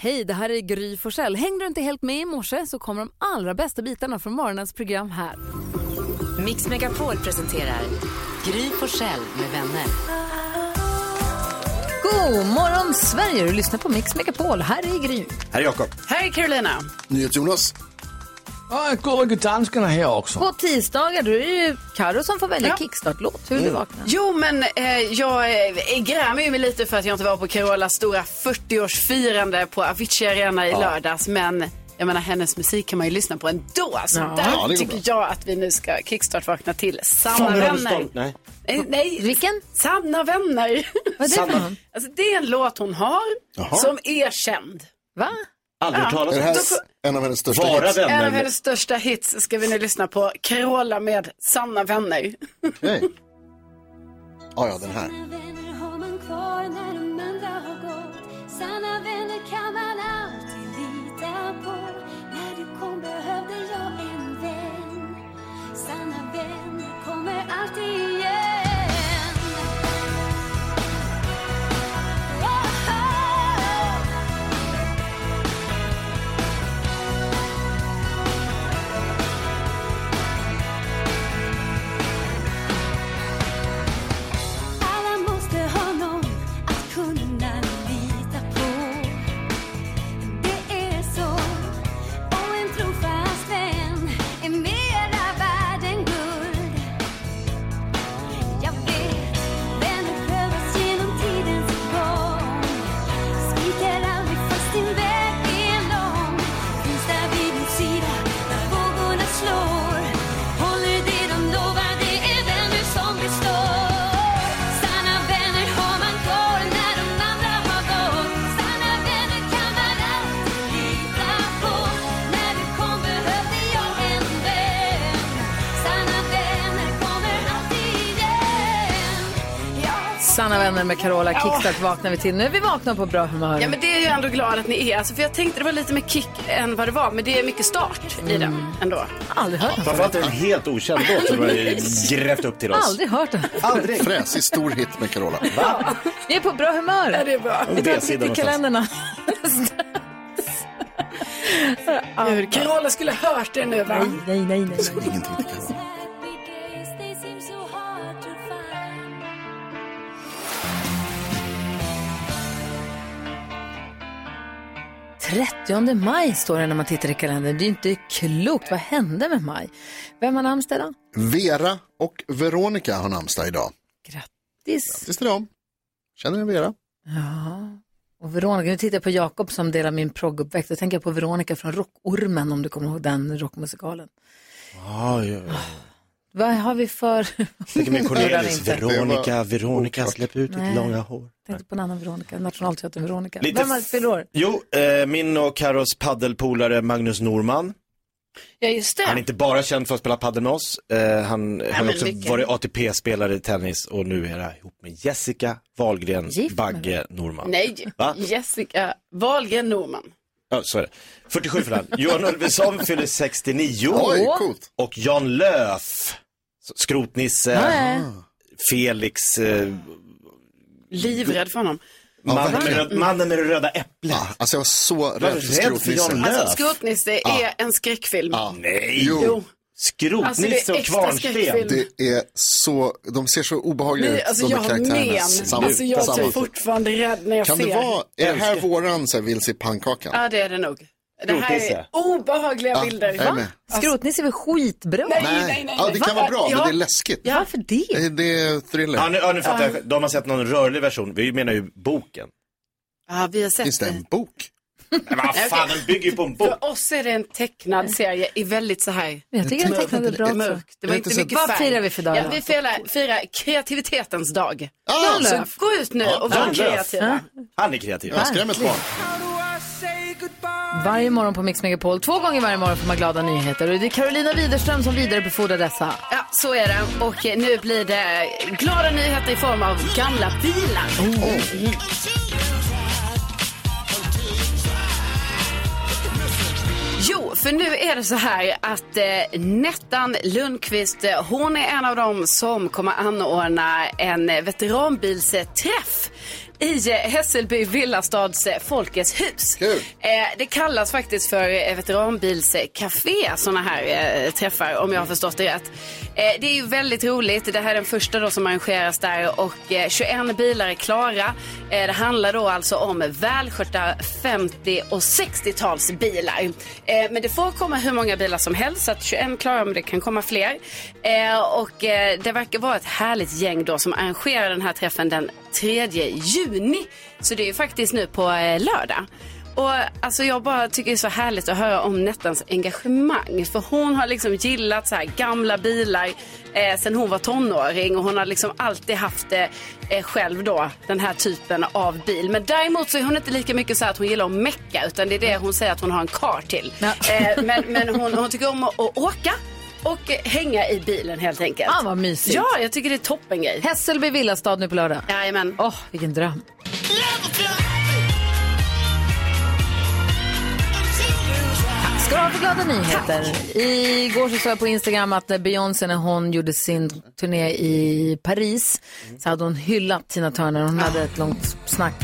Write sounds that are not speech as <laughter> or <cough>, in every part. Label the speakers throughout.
Speaker 1: Hej, det här är Gry Forssell. Hängde du inte helt med i morse så kommer de allra bästa bitarna från morgonens program här.
Speaker 2: Mix Megapol presenterar Gry Forssell med vänner.
Speaker 1: God morgon Sverige! Du lyssnar på Mix Megapol. Här är Gry.
Speaker 3: Här är Jakob.
Speaker 4: Här är Carolina.
Speaker 3: Jonas.
Speaker 5: Ja, Gullige danskarna här också.
Speaker 1: På tisdagar då är det ju Karo som får välja kickstart-låt. Hur vill du vakna?
Speaker 4: Jo, men eh, jag eh, grämer ju mig lite för att jag inte var på Carolas stora 40-årsfirande på Avicii Arena i lördags. Men jag menar, hennes musik kan man ju lyssna på ändå. Så där
Speaker 3: Ja, det går
Speaker 4: tycker
Speaker 3: bra.
Speaker 4: jag att vi nu ska kickstart-vakna till Sanna vänner.
Speaker 3: Nej.
Speaker 4: Eh, Nej,
Speaker 1: Vilken?
Speaker 4: Sanna
Speaker 3: <laughs>
Speaker 4: vänner.
Speaker 1: Vad är det för någon?
Speaker 4: alltså, det är en låt hon har
Speaker 3: Jaha.
Speaker 4: som är känd.
Speaker 1: Va?
Speaker 6: Aldrig hört
Speaker 3: Är
Speaker 6: talas
Speaker 3: det här
Speaker 6: om.
Speaker 3: s- en av hennes största
Speaker 6: Vara
Speaker 3: hits?
Speaker 4: En av
Speaker 6: vänner.
Speaker 4: hennes största hits ska vi nu lyssna på. Carola med Sanna vänner.
Speaker 3: Okej. Ja, ja, den här.
Speaker 7: vänner har man kvar när de andra har gått Sanna vänner kan man alltid lita på När du kom behövde jag en vän Sanna vänner kommer alltid igen Oh, oh. Alla måste ha någon att kunna lita på Det är så Och en trofast vän är mera värd än guld Jag vet, vänner prövas genom tidens gång Sviker aldrig fast din väg är lång Finns där vid din sida när vågorna slår Håller det de lovar, det är vänner som består Sanna vänner har man kvar när de andra har gått Sanna vänner kan man alltid lita på När du kom behövde jag en vän Sanna vänner kommer alltid igen Jag
Speaker 1: Sanna vänner med Carola. Kickstart vaknar vi till. Nu är vi vakna på bra humör.
Speaker 4: Ja, men det är jag ändå glad att ni är. Alltså, för jag tänkte det var lite mer kick än vad det var, men det är mycket start i den ändå.
Speaker 1: Aldrig hört den förut.
Speaker 6: Framförallt en helt okänd låt som du har grävt upp till oss.
Speaker 1: Aldrig hört den.
Speaker 3: Aldrig. Fräsig stor hit med
Speaker 4: <laughs>
Speaker 3: Carola.
Speaker 1: Vi är på bra humör.
Speaker 4: det är bra.
Speaker 1: Vi tar en titt
Speaker 6: B-sidan
Speaker 1: i kalendrarna.
Speaker 4: Gud, Carola skulle ha hört det nu, va?
Speaker 1: Nej, nej, nej.
Speaker 3: Säg ingenting till Carola.
Speaker 7: happy days, they seem so hard to find
Speaker 1: nej. 30 maj står det när man tittar i kalendern. Det är ju inte klokt. Vad hände med maj? Vem har namnsdag idag?
Speaker 3: Vera och Veronica har namnsdag idag.
Speaker 1: Grattis.
Speaker 3: Grattis till dem. Känner ni Vera?
Speaker 1: Ja. Och Veronica, nu tittar jag på Jakob som delar min progguppväxt. Då tänker jag på Veronica från Rockormen, om du kommer ihåg den rockmusikalen. Vad har vi för... <laughs>
Speaker 6: Tänk mig Cornelis,
Speaker 1: inte.
Speaker 6: Veronica, Veronica, släpp ut ditt långa hår.
Speaker 1: tänkte på en annan Veronica, Nationalteatern Veronica.
Speaker 6: Lite
Speaker 1: Vem har fyller år?
Speaker 6: Jo, eh, min och Karos paddelpolare Magnus Norman.
Speaker 4: Ja, just
Speaker 6: Han är
Speaker 4: det.
Speaker 6: inte bara känd för att spela padel med oss. Eh, han har
Speaker 4: men
Speaker 6: också
Speaker 4: vilken-
Speaker 6: varit ATP-spelare i tennis och nu är han ihop med Jessica Wahlgren
Speaker 1: Gift med
Speaker 6: Bagge Norman.
Speaker 4: Nej,
Speaker 6: Va?
Speaker 4: Jessica Wahlgren Norman.
Speaker 6: Ja, så är det. 47 för han.
Speaker 1: <laughs>
Speaker 6: Johan Ulveson fyller 69.
Speaker 3: Oj, coolt.
Speaker 6: Och Jan Löf, Skrotnisse,
Speaker 1: Nej.
Speaker 6: Felix, eh,
Speaker 4: Livrädd för honom.
Speaker 6: mannen, med, röd- mannen med det röda äpplet.
Speaker 3: Ah, alltså jag var så rädd för
Speaker 6: rädd för Jan
Speaker 3: skrotnissen.
Speaker 6: Löf.
Speaker 4: Alltså, Skrotnisse
Speaker 3: Ah.
Speaker 4: är en skräckfilm.
Speaker 3: Ja.
Speaker 6: Nej!
Speaker 3: Jo,
Speaker 4: Jo. Alltså, det är
Speaker 6: Skrotnisse
Speaker 4: extra
Speaker 6: och Kvarnsten.
Speaker 4: skräckfilm.
Speaker 3: det är så, de ser så obehagliga
Speaker 4: Nej,
Speaker 3: ut,
Speaker 4: alltså,
Speaker 3: de
Speaker 4: jag
Speaker 3: där
Speaker 4: har
Speaker 3: karaktärerna.
Speaker 4: men. Alltså, jag är
Speaker 3: tillsammans.
Speaker 4: fortfarande rädd när jag
Speaker 3: Kan
Speaker 4: ser.
Speaker 3: det vara, är det här våran så här, vilse i pannkakan?
Speaker 4: Ja, det är det nog. Det här är
Speaker 6: Skrotnisse.
Speaker 4: obehagliga
Speaker 3: Ja,
Speaker 4: bilder.
Speaker 3: Ah. jag är med.
Speaker 1: Skrotnisse är väl skitbra?
Speaker 4: Nej, nej, nej,
Speaker 3: Ja,
Speaker 4: nej.
Speaker 3: det kan
Speaker 4: Va?
Speaker 3: vara bra, men
Speaker 4: Ja.
Speaker 3: det är läskigt.
Speaker 1: Varför det?
Speaker 3: Det- Det är thriller.
Speaker 6: Ja, nu, ja, nu fattar jag. De har sett någon rörlig version. Vi menar ju boken.
Speaker 4: Ja, vi har sett
Speaker 3: Finns det en bok?
Speaker 6: Men vad fan, den bygger ju på en bok.
Speaker 4: För oss är det en tecknad serie i väldigt så här
Speaker 1: Men jag tycker den tecknade bra också.
Speaker 4: mörkt. Det var
Speaker 3: är
Speaker 4: inte
Speaker 3: inte så-
Speaker 4: mycket
Speaker 1: Vad
Speaker 4: färg.
Speaker 1: firar vi för dag
Speaker 4: Ja,
Speaker 1: då?
Speaker 4: vi firar, firar kreativitetens dag.
Speaker 3: Ah,
Speaker 1: Löf.
Speaker 3: så,
Speaker 4: Så gå ut nu och var
Speaker 6: Jan Löf.
Speaker 4: kreativa.
Speaker 6: Han är kreativ.
Speaker 3: jag skrämmer ett barn.
Speaker 1: Varje morgon på Mix Megapol. Två gånger varje morgon får man glada nyheter. Och det är Carolina Widerström som vidarebefordrar dessa.
Speaker 4: Ja, så är det. Och eh, nu blir det glada nyheter i form av gamla bilar. Jo, för nu är det så här att eh, Nettan Lundqvist, eh, hon är en av dem som kommer anordna en eh, veteranbilsträff. i eh, Hässelby villastads eh, Folkets hus.
Speaker 3: Kul.
Speaker 4: Eh, Det kallas faktiskt för eh, veteranbilscafé, sådana här eh, träffar om jag har förstått det rätt. Eh, Det är ju väldigt roligt. Det här är den första då som arrangeras där och eh, 21 bilar är klara. Eh, Det handlar då alltså om välskötta 50 och 60-talsbilar. Eh, Men det får komma hur många bilar som helst, så att 21 klarar men det kan komma fler. Eh, Och eh, det verkar vara ett härligt gäng då som arrangerar den här träffen den 3 juni. Så det är ju faktiskt nu på eh, lördag. Och alltså jag bara tycker det är så härligt att höra om Nettans engagemang. För hon har liksom gillat så här gamla bilar eh, sen hon var tonåring och hon har liksom alltid haft eh, eh, själv då den här typen av bil. Men däremot så är hon inte lika mycket så här att hon gillar att mecka utan det är det hon säger att hon har en kar till.
Speaker 1: Ja.
Speaker 4: Eh, men men hon, hon tycker om att, att åka och eh, hänga i bilen helt enkelt.
Speaker 1: Ah, vad mysigt.
Speaker 4: Ja, jag tycker det är toppen grej.
Speaker 1: Hässelby villastad nu på lördag.
Speaker 4: Jajamän.
Speaker 1: Åh, vilken dröm. Ska du ha för glada nyheter? Igår så såg jag på Instagram att när Beyoncé när hon gjorde sin turné i Paris så hade hon hyllat Tina Turner. Hon hade ett långt snack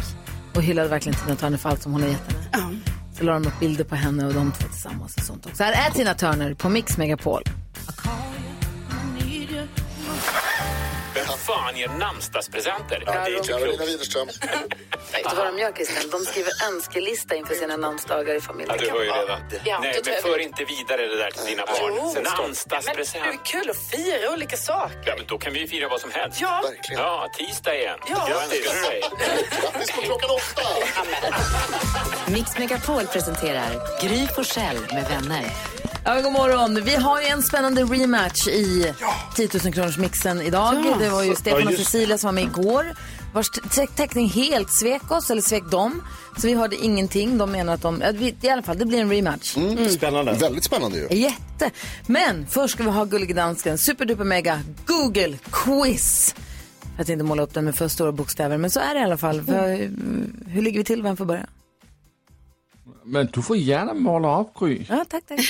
Speaker 1: och hyllade verkligen Tina Turner för allt som hon har gett henne. Så la de upp bilder på henne och de två tillsammans och sånt också. Här är Tina Turner på Mix Megapol.
Speaker 8: Fan ger namnsdagspresenter? det är inte
Speaker 3: Karolina
Speaker 8: klokt.
Speaker 3: Widerström.
Speaker 1: Vet du vad de gör Christian? De skriver önskelista inför sina namnsdagar i
Speaker 8: Ja,
Speaker 1: familjen.
Speaker 8: du hör ju redan.
Speaker 4: Ja, då
Speaker 8: Nej,
Speaker 4: tror
Speaker 8: men
Speaker 4: jag
Speaker 8: för inte vidare det där till dina barn. Namnsdagspresent.
Speaker 4: kul att fira olika saker.
Speaker 8: Ja, men då kan vi fira vad som helst.
Speaker 4: Ja,
Speaker 3: Verkligen.
Speaker 8: Ja, tisdag igen.
Speaker 4: Ja.
Speaker 8: Grattis.
Speaker 3: Grattis på klockan åtta!
Speaker 2: Mix Megapol presenterar Gry Forssell med vänner.
Speaker 1: Ja, men god morgon. Vi har ju en spännande rematch i 10 000 kronors mixen idag. Det var ju Stefan
Speaker 6: Ja,
Speaker 1: och
Speaker 6: just.
Speaker 1: Cecilia som var med igår. Vars te- teckning helt svek oss, eller svek dem. Så vi hörde ingenting. De menar att de... ja, vi- I alla fall, det blir en rematch.
Speaker 6: Mm. Spännande.
Speaker 3: Väldigt spännande ju.
Speaker 1: Jätte. Men först ska vi ha Gullige Dansken, superduper mega Google quiz. Jag tänkte inte måla upp den med för stora bokstäver, men så är det i alla fall. För,
Speaker 6: Mm.
Speaker 1: eh, hur ligger vi till? Vem får börja?
Speaker 5: Men du får gärna måla upp, Gry.
Speaker 1: Ja, tack, tack.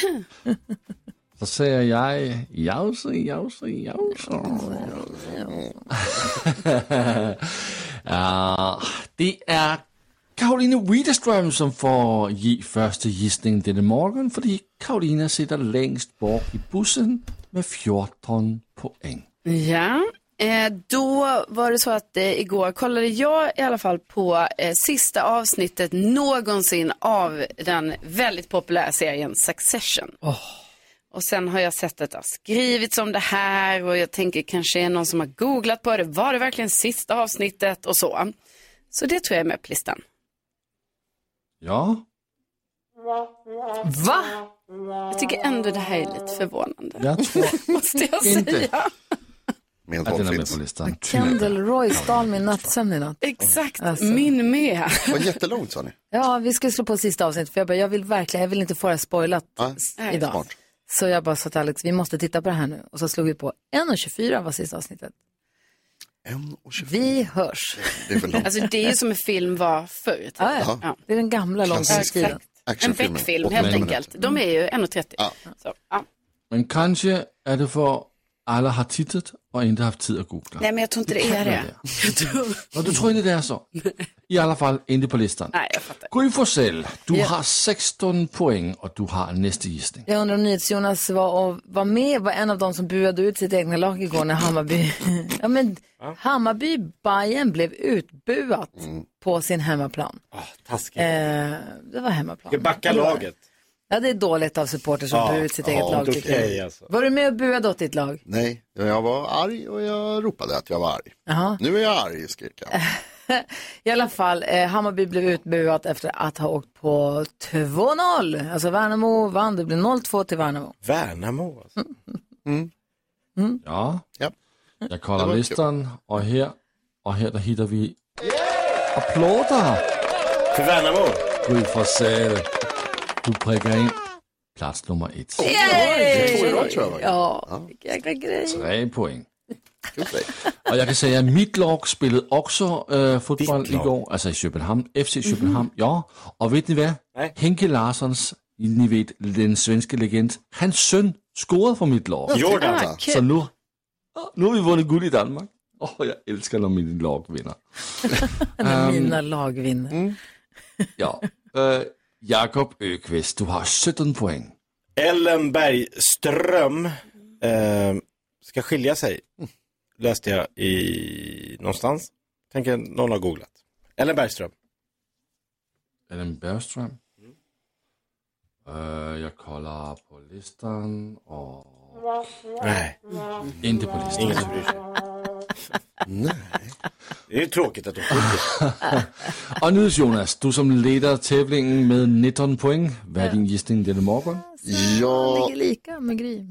Speaker 5: Så säger jag jause, jause, jause. <laughs> ja, det är Karoline Widerström som får ge första gissningen denna morgon fordi Karolina sitter längst bort i bussen med 14 poäng.
Speaker 4: Ja, eh, då var det så att eh, igår kollade jag i alla fall på eh, sista avsnittet någonsin av den väldigt populära serien Succession. Och sen har jag sett att det har skrivits om det här och jag tänker kanske är någon som har googlat på det. Var det verkligen sista avsnittet och så? Så det tror jag är med på listan.
Speaker 5: Ja,
Speaker 1: Va?
Speaker 4: Jag tycker ändå det här är lite förvånande.
Speaker 5: jag
Speaker 4: <laughs>
Speaker 5: tror
Speaker 4: Måste jag
Speaker 5: inte
Speaker 4: säga.
Speaker 3: Med
Speaker 5: att den är med
Speaker 3: valfritt.
Speaker 5: på listan.
Speaker 1: Kendall Roy stal min nattsömn i natt.
Speaker 4: Exakt,
Speaker 1: Alltså.
Speaker 4: min med.
Speaker 3: Det var jättelångt sa ni.
Speaker 1: Ja, vi ska slå på sista avsnittet för jag, bara, jag vill verkligen, jag vill inte få det här spoilat
Speaker 3: Nej,
Speaker 1: s- idag.
Speaker 3: smart.
Speaker 1: Så jag bara sa till Alex, vi måste titta på det här nu. Och så slog vi på 1.24 var sista avsnittet.
Speaker 3: En och tjugo.
Speaker 1: Vi hörs.
Speaker 3: Det är för långt.
Speaker 4: Alltså det är ju som en film var förr. typ.
Speaker 1: Ja, ja.
Speaker 4: Ja.
Speaker 1: Det är den gamla
Speaker 3: Klassisk.
Speaker 1: långtidstiden.
Speaker 4: En
Speaker 3: Actionfilmer.
Speaker 4: Beck-film
Speaker 3: Åtta
Speaker 4: helt
Speaker 3: minuter.
Speaker 4: enkelt. De är ju 1,30.
Speaker 3: Ja.
Speaker 4: Så, ja.
Speaker 5: Men kanske är det för alla har tittat och inte haft tid att googla.
Speaker 4: Nej men jag tror inte det är det. Jag tror...
Speaker 5: Och du tror inte det är så? I alla fall inte på listan.
Speaker 4: Nej jag fattar.
Speaker 5: Gry Forssell, du har 16 poäng och du har nästa gissning.
Speaker 1: Jag undrar om NyhetsJonas var, och var med, var en av de som buade ut sitt egna lag igår när Hammarby, <laughs> ja men Hammarby Bayern blev utbuat på sin hemmaplan.
Speaker 6: Ah, taskigt.
Speaker 1: Eh, det var hemmaplan.
Speaker 6: Ska backa laget.
Speaker 1: Ja, det är dåligt av supporter som buar ut sitt eget lag.
Speaker 6: inte
Speaker 1: tycker jag.
Speaker 6: okej, alltså.
Speaker 1: Var du med och buade åt ditt lag?
Speaker 3: Nej, jag var arg och jag ropade att jag var arg.
Speaker 1: Jaha.
Speaker 3: Nu är jag arg, skrek jag.
Speaker 1: I alla fall, eh, Hammarby blev utbuat efter att ha åkt på 2-0. Alltså Värnamo vann, det blev 0-2 till Värnamo.
Speaker 6: Värnamo alltså.
Speaker 5: Ja,
Speaker 3: Ja.
Speaker 5: jag
Speaker 3: Det
Speaker 5: kollar
Speaker 3: var
Speaker 5: listan och här, och här där hittar vi applåder.
Speaker 6: För Värnamo.
Speaker 5: Gry Forssell, du prickar in plats nummer ett.
Speaker 3: Två i rad tror jag var.
Speaker 1: Ja, jäkla grej.
Speaker 5: Tre poäng.
Speaker 3: Kul för dig.
Speaker 5: Och jag kan säga att mitt lag spelade också äh, fotboll
Speaker 6: Ditt lag?
Speaker 5: igår, alltså i Köpenhamn, FC Köpenhamn. Ja, och vet ni vad?
Speaker 6: Nej.
Speaker 5: Henke Larssons, ni vet, den svenska legend, hans son scorede för mitt lag.
Speaker 6: Jordan.
Speaker 4: Ah, kul.
Speaker 5: Så nu, nu har vi vunnit guld i Danmark. Åh, jag älskar när min lag vinner.
Speaker 1: När mina lag vinner.
Speaker 5: Ja. Eh, Jakob Ökvist, du har 17 poäng.
Speaker 6: Ellen Bergström eh, ska skilja sig. Läste jag i någonstans. Tänker någon har googlat. Ellen Bergström.
Speaker 5: Ellen Bergström. Eh, jag kollar på listan och
Speaker 6: Nej,
Speaker 5: inte på listan.
Speaker 6: ingen som bryr <laughs> sig. Nej. Det är ju tråkigt att de skiljer sig.
Speaker 5: Och nu Jonas, du som leder tävlingen med 19 poäng. Vad är din gissning denna morgon?
Speaker 1: Han
Speaker 3: Ja,
Speaker 1: ligger lika med Gry.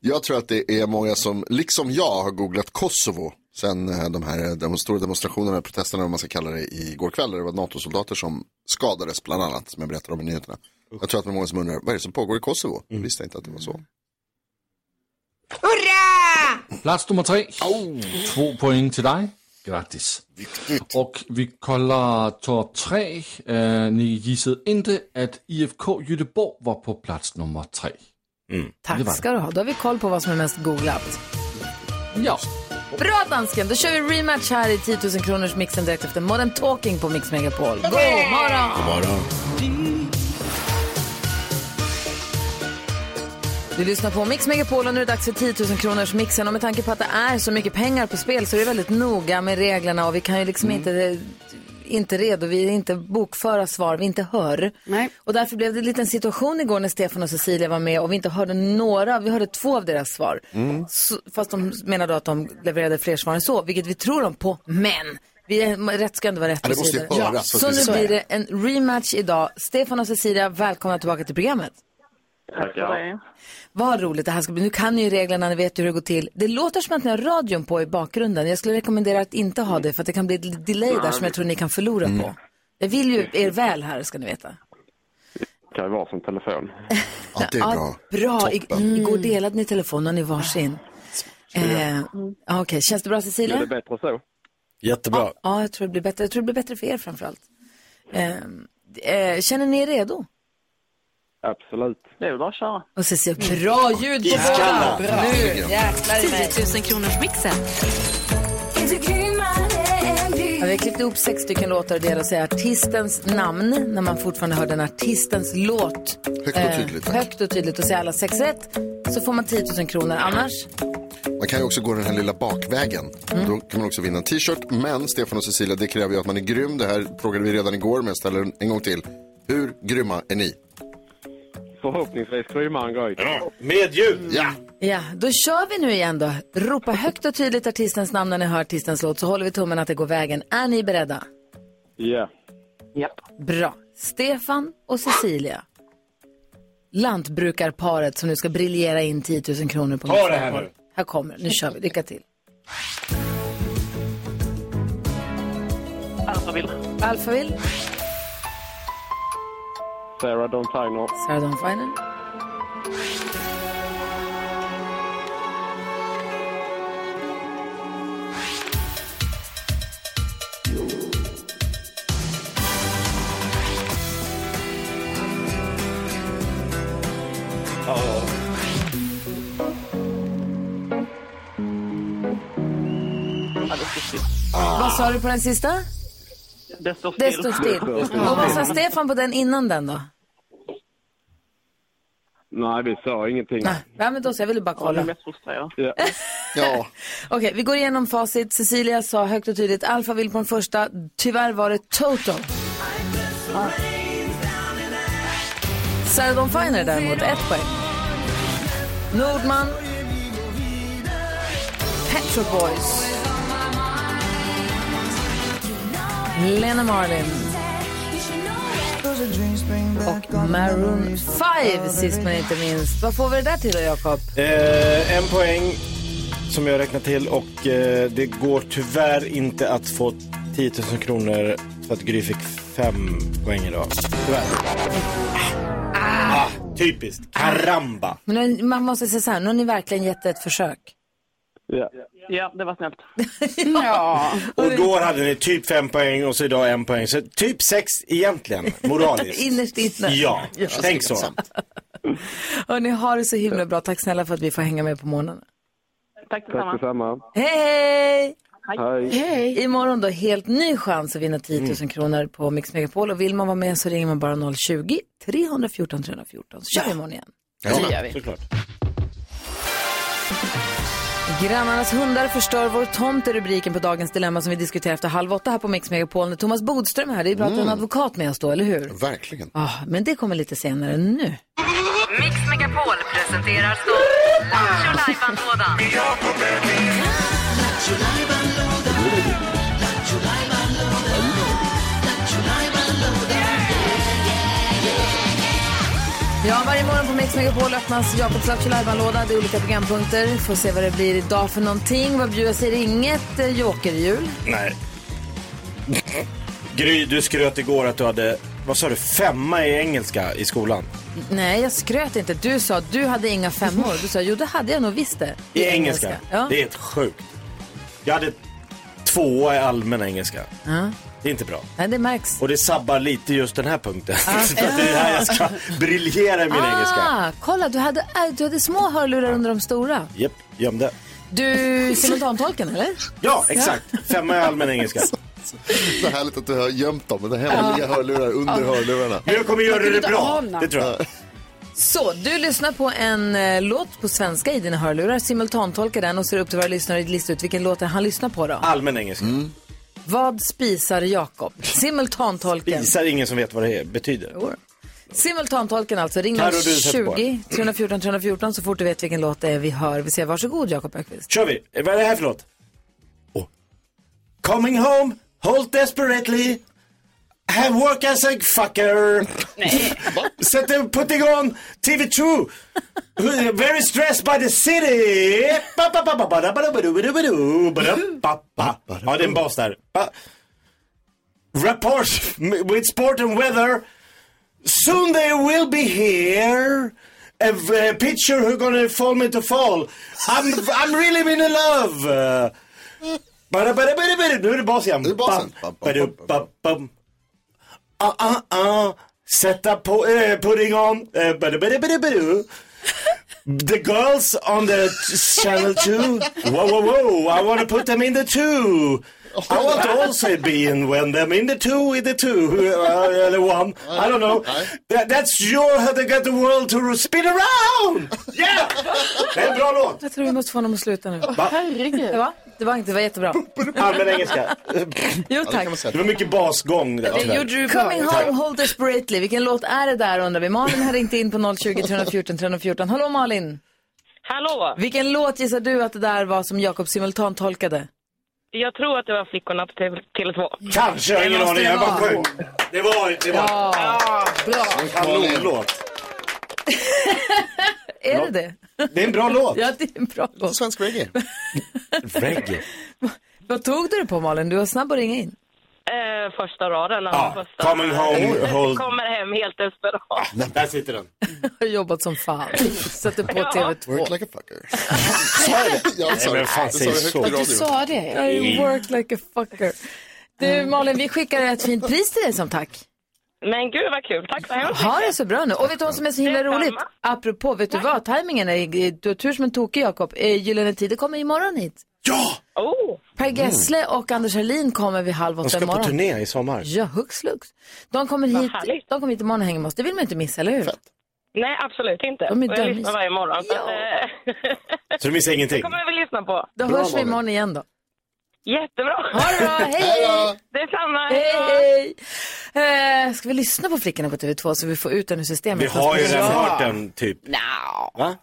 Speaker 3: jag tror att det är många som, liksom jag, har googlat Kosovo sen eh, de här de stora demonstrationerna, protesterna, vad man ska kalla det, igår kväll. där Det var NATO-soldater som skadades, bland annat, som jag berättade om i nyheterna. Jag tror att det är många som undrar, vad är det som pågår i Kosovo? Jag visste inte att det var så.
Speaker 5: Plats nummer tre. Två poäng till dig. Grattis. Och vi kollar topp tre. Eh, ni gissade inte att IFK Göteborg var på plats nummer tre. Det var
Speaker 1: Tack
Speaker 5: det.
Speaker 1: ska du ha. Då har vi koll på vad som är mest googlat.
Speaker 5: Ja,
Speaker 1: Bra dansken, då kör vi rematch här i 10 000 kronors mixen direkt efter Modern Talking på Mix Megapol. God morgon! Du lyssnar på Mix Megapol och nu är det dags för 10 000 kronors mixen. Och med tanke på att det är så mycket pengar på spel så är det väldigt noga med reglerna och vi kan ju liksom inte, inte redovisa, inte bokföra svar vi inte hör.
Speaker 4: Nej.
Speaker 1: Och därför blev det en liten situation igår när Stefan och Cecilia var med och vi inte hörde några, vi hörde två av deras svar. Så, fast de menade att de levererade fler svar än så, vilket vi tror dem på, men vi är, rätt ska ändå vara rätt.
Speaker 3: Ja, det måste ju
Speaker 1: och så vidare.
Speaker 3: höras för
Speaker 1: Så
Speaker 3: att det
Speaker 1: nu
Speaker 3: ska-
Speaker 1: blir det en rematch idag. Stefan och Cecilia, välkomna tillbaka till programmet.
Speaker 9: Tackar.
Speaker 1: Vad roligt det här ska bli. Nu kan ni ju reglerna, ni vet hur det går till. Det låter som att ni har radion på i bakgrunden. Jag skulle rekommendera att inte ha det för att det kan bli ett delay där som jag tror ni kan förlora
Speaker 3: Mm.
Speaker 1: på. Jag vill ju er väl här ska ni veta.
Speaker 9: Det kan ju vara som telefon.
Speaker 3: Ja, det är bra.
Speaker 1: bra. I, igår delade ni telefon och ni varsin. Eh, Okej, känns det bra Cecilia?
Speaker 9: Är det bättre så?
Speaker 6: Jättebra.
Speaker 1: Ja, jag tror det blir bättre. Jag tror det blir bättre för er framförallt. Eh, eh, känner ni er redo?
Speaker 9: Absolut. Det är väl bara att köra.
Speaker 1: Och Cecilia, bra ljud på båda! Nu jäklar i mig.
Speaker 2: 10 000 kronors mixen.
Speaker 7: Är du grymmare än
Speaker 1: Ja, vi
Speaker 7: Gry?
Speaker 1: har klippt ihop sex stycken låtar och det gäller att säga artistens namn när man fortfarande hör den artistens låt. Eh,
Speaker 3: Högt och tydligt, tack.
Speaker 1: högt och tydligt och säga alla sex rätt så får man 10 000 kronor. Annars,
Speaker 3: Man kan ju också gå den här lilla bakvägen. Då kan man också vinna en t-shirt. Men Stefan och Cecilia, det kräver ju att man är grym. Det här frågade vi redan igår, men jag ställer den en gång till. Hur grymma är ni?
Speaker 9: Förhoppningsvis krymmar en grej.
Speaker 6: Med ljud.
Speaker 3: Ja!
Speaker 1: ja, då kör vi nu igen då. Ropa högt och tydligt artistens namn när ni hör artistens låt så håller vi tummen att det går vägen. Är ni beredda?
Speaker 9: Ja.
Speaker 1: Bra. Stefan och Cecilia. Lantbrukarparet som nu ska briljera in 10 000 kronor på Ta det här nu. Här kommer det. Nu kör vi. Lycka till.
Speaker 9: Alphaville.
Speaker 1: Alphaville,
Speaker 9: Sarah Dawn Tyner.
Speaker 1: Sarah Dawn Finer. Vad sa du på den sista?
Speaker 9: Det står still.
Speaker 1: Det står still. Och vad sa Stefan på den innan den då?
Speaker 9: Nej, vi sa ingenting.
Speaker 1: Nej, men då så, jag ville bara
Speaker 9: Jag är
Speaker 1: kolla.
Speaker 9: mest frustrerad. Ja.
Speaker 3: <laughs> Ja,
Speaker 1: Okej, vi går igenom facit. Cecilia sa högt och tydligt Alphaville på den första. Tyvärr var det Toto. Sarah Dawn Finer däremot, ett poäng. Nordman. Pet Shop Boys. Lena Marlin. Och Maroon 5 sist men inte minst. Vad får vi det där till då, Jakob?
Speaker 6: Eh, en poäng som jag räknar till och eh, det går tyvärr inte att få 10 000 kronor för att Gry fick fem poäng idag. Tyvärr. Ah, typiskt. Karamba.
Speaker 1: Men nu- man måste säga så här, nu har ni verkligen gett det ett försök.
Speaker 9: Ja. det var snällt.
Speaker 4: <laughs> Ja.
Speaker 6: Och då hade ni typ fem poäng och så idag en poäng. Så typ sex egentligen, moraliskt.
Speaker 1: <laughs> Innerst inne.
Speaker 6: Ja, tänk så.
Speaker 1: Hörni, ha det så himla bra. Tack snälla för att vi får hänga med på morgonen.
Speaker 10: Tack detsamma.
Speaker 1: Hej, hej!
Speaker 10: Hej.
Speaker 1: Imorgon då, helt ny chans att vinna 10 000 kronor på Mix Megapol. Och vill man vara med så ringer man bara 020-314 314. Så kör vi imorgon igen.
Speaker 6: Det gör vi.
Speaker 11: Såklart.
Speaker 1: Grannarnas hundar förstör vår tomt är rubriken på dagens dilemma som vi diskuterar efter halv åtta här på Mix Megapol. När Thomas Bodström är här, det är bra att du har en advokat med oss då, eller hur?
Speaker 3: Verkligen.
Speaker 1: Ja, Ah, men det kommer lite senare nu.
Speaker 12: Mix Megapol presenterar stolt Lattjo Lajban-lådan.
Speaker 1: Ja, varje morgon på Mix Megapol öppnas Jakobs Lattjo Lajban-låda. Det är olika programpunkter. Får se vad det blir idag för någonting. Vad bjuds i inget eh, jokerhjul.
Speaker 11: Nej. Gry, du skröt igår att du hade, vad sa du, femma i engelska i skolan?
Speaker 1: Nej, jag skröt inte. Du sa att du hade inga femmor. Du sa, jo det hade jag nog visst det.
Speaker 11: I engelska?
Speaker 1: Ja.
Speaker 11: Det är ett sjukt. Jag hade tvåa i allmän engelska. Det är inte bra.
Speaker 1: Nej, det märks.
Speaker 11: Och det sabbar lite just den här punkten. <laughs> Så det är här jag ska briljera i min engelska.
Speaker 1: Ah, kolla, du hade, äh, du hade små hörlurar under de stora.
Speaker 11: Japp, gömde.
Speaker 1: Du, simultantolken eller?
Speaker 11: Ja, exakt. Femma i allmän engelska.
Speaker 3: Så härligt att du har gömt dem. Det hemliga hörlurar under hörlurarna.
Speaker 11: Men jag kommer göra det bra. Det tror jag.
Speaker 1: Så, du lyssnar på en eh, låt på svenska i dina hörlurar, simultantolkar den och ser upp till våra lyssnare att lista ut vilken låt han lyssnar på då.
Speaker 11: Allmän engelska.
Speaker 1: Vad spisar
Speaker 11: <laughs>
Speaker 1: Jakob? Simultantolken.
Speaker 11: Visar ingen som vet vad det betyder.
Speaker 1: Jo. Simultantolken alltså, ring
Speaker 11: Karo, du sätter på.
Speaker 1: 020 314 314 så fort du vet vilken låt det är vi hör. Vi säger varsågod Jakob Öqvist.
Speaker 11: kör vi. Vad är det här för låt? Oh. Coming home, hold desperately, have work as a fucker. Set them putting on TV2. Very stressed by the city. Ba, ba, ba, ba, ba, da, ba, da, ba, do, ba, do, ba, do, ba, da, ba, ba. Ja, det är en bas där. Ba. Rapport with sport and weather. Soon they will be here. A, a picture who gonna fall me to fall. I'm, I'm really been in love. Uh, bara, bara, bara, bara. Nu är det bas igen.
Speaker 3: Nu är det basen.
Speaker 11: Bam, bada, bam, bam. Ah, ah, ah. Sätta på, eh, pudding on. Eh, bara, bara, bara, bara. The girls on the t- channel 2. Whoa, whoa, whoa. I wanna put them in the two. I want to also be in when them in the two, in the two, uh, the one. I don't know. That, that's your how they got the world to spin around. Yeah! Det är en bra låt.
Speaker 1: Jag tror vi måste få honom att sluta nu.
Speaker 7: Herregud.
Speaker 1: Det var, det var inte, det var jättebra.
Speaker 11: Allmän engelska.
Speaker 1: Jo
Speaker 3: Ja, det kan man
Speaker 1: tack.
Speaker 11: Det
Speaker 3: säga.
Speaker 11: var mycket basgång där.
Speaker 6: Det gjorde
Speaker 11: tyvärr.
Speaker 6: du bra.
Speaker 1: Coming home, hold desperately. Vilken låt är det där undrar vi. Malin har ringt in på 020 314 314. Hallå Malin!
Speaker 7: Hallå!
Speaker 1: Vilken låt gissar du att det där var som Jakob simultantolkade?
Speaker 7: Jag tror att det var flickorna på TV- Tele2.
Speaker 11: Kanske, jag har ingen aning. Jag bara sjöng. Det var, det var
Speaker 3: Oj,
Speaker 11: en
Speaker 3: Malin.
Speaker 11: låt.
Speaker 1: Är det det?
Speaker 11: Det är en bra låt.
Speaker 1: Ja, det är en bra låt.
Speaker 3: Svensk reggae.
Speaker 11: Reggae.
Speaker 1: Vad tog du det på Malin? Du var snabb att ringa in.
Speaker 7: Eh, första raden.
Speaker 11: Ja,
Speaker 7: alltså första.
Speaker 11: coming home, hold.
Speaker 7: Kommer hem helt desperat.
Speaker 11: Där sitter den.
Speaker 1: Har jobbat som fan. Satte på
Speaker 3: Work
Speaker 1: TV2.
Speaker 3: like a fucker. Ja, sorry.
Speaker 11: men fan,
Speaker 3: Jag sa
Speaker 11: säg
Speaker 3: det högt
Speaker 11: så.
Speaker 3: i
Speaker 11: Du
Speaker 3: radio.
Speaker 6: Du sa det.
Speaker 1: I work like a fucker. Du Malin, vi skickar ett fint pris till dig som tack.
Speaker 7: Men gud vad kul. Tack så hemskt
Speaker 1: Ha det så bra nu. Och vet du vad som är så himla
Speaker 7: Detsamma.
Speaker 1: roligt? Apropå, vet du vad? Tajmingen är, eh, du har tur som en tokig Jakob. Eh, Gyllene Tider kommer imorgon hit.
Speaker 11: Ja!
Speaker 7: Oh,
Speaker 1: Per Gessle och Anders Herlin kommer vid halv
Speaker 11: De
Speaker 1: åtta
Speaker 11: Mm. ska på
Speaker 1: imorgon.
Speaker 11: turné i sommar.
Speaker 1: Ja, hux flux. De kommer, hit,
Speaker 7: härligt.
Speaker 1: de kommer hit imorgon och hänger med oss. Det vill man inte missa, eller hur?
Speaker 7: Nej, absolut inte.
Speaker 1: De är
Speaker 7: Och jag
Speaker 1: dummis.
Speaker 7: lyssnar varje morgon. Så att, eh, <laughs>
Speaker 11: Så du missar ingenting.
Speaker 7: kommer jag väl lyssna på.
Speaker 1: Då hörs vi imorgon igen då.
Speaker 7: Jättebra.
Speaker 1: Ha det bra,
Speaker 3: <laughs>
Speaker 1: hej!
Speaker 3: Ja,
Speaker 7: Detsamma.
Speaker 1: Hej, hej! Eh, ska vi lyssna på Flickorna på TV2 så vi får ut den ur systemet?
Speaker 11: Vi har ju
Speaker 1: Fast-
Speaker 11: redan
Speaker 1: Ja.
Speaker 11: hört den, typ. Va?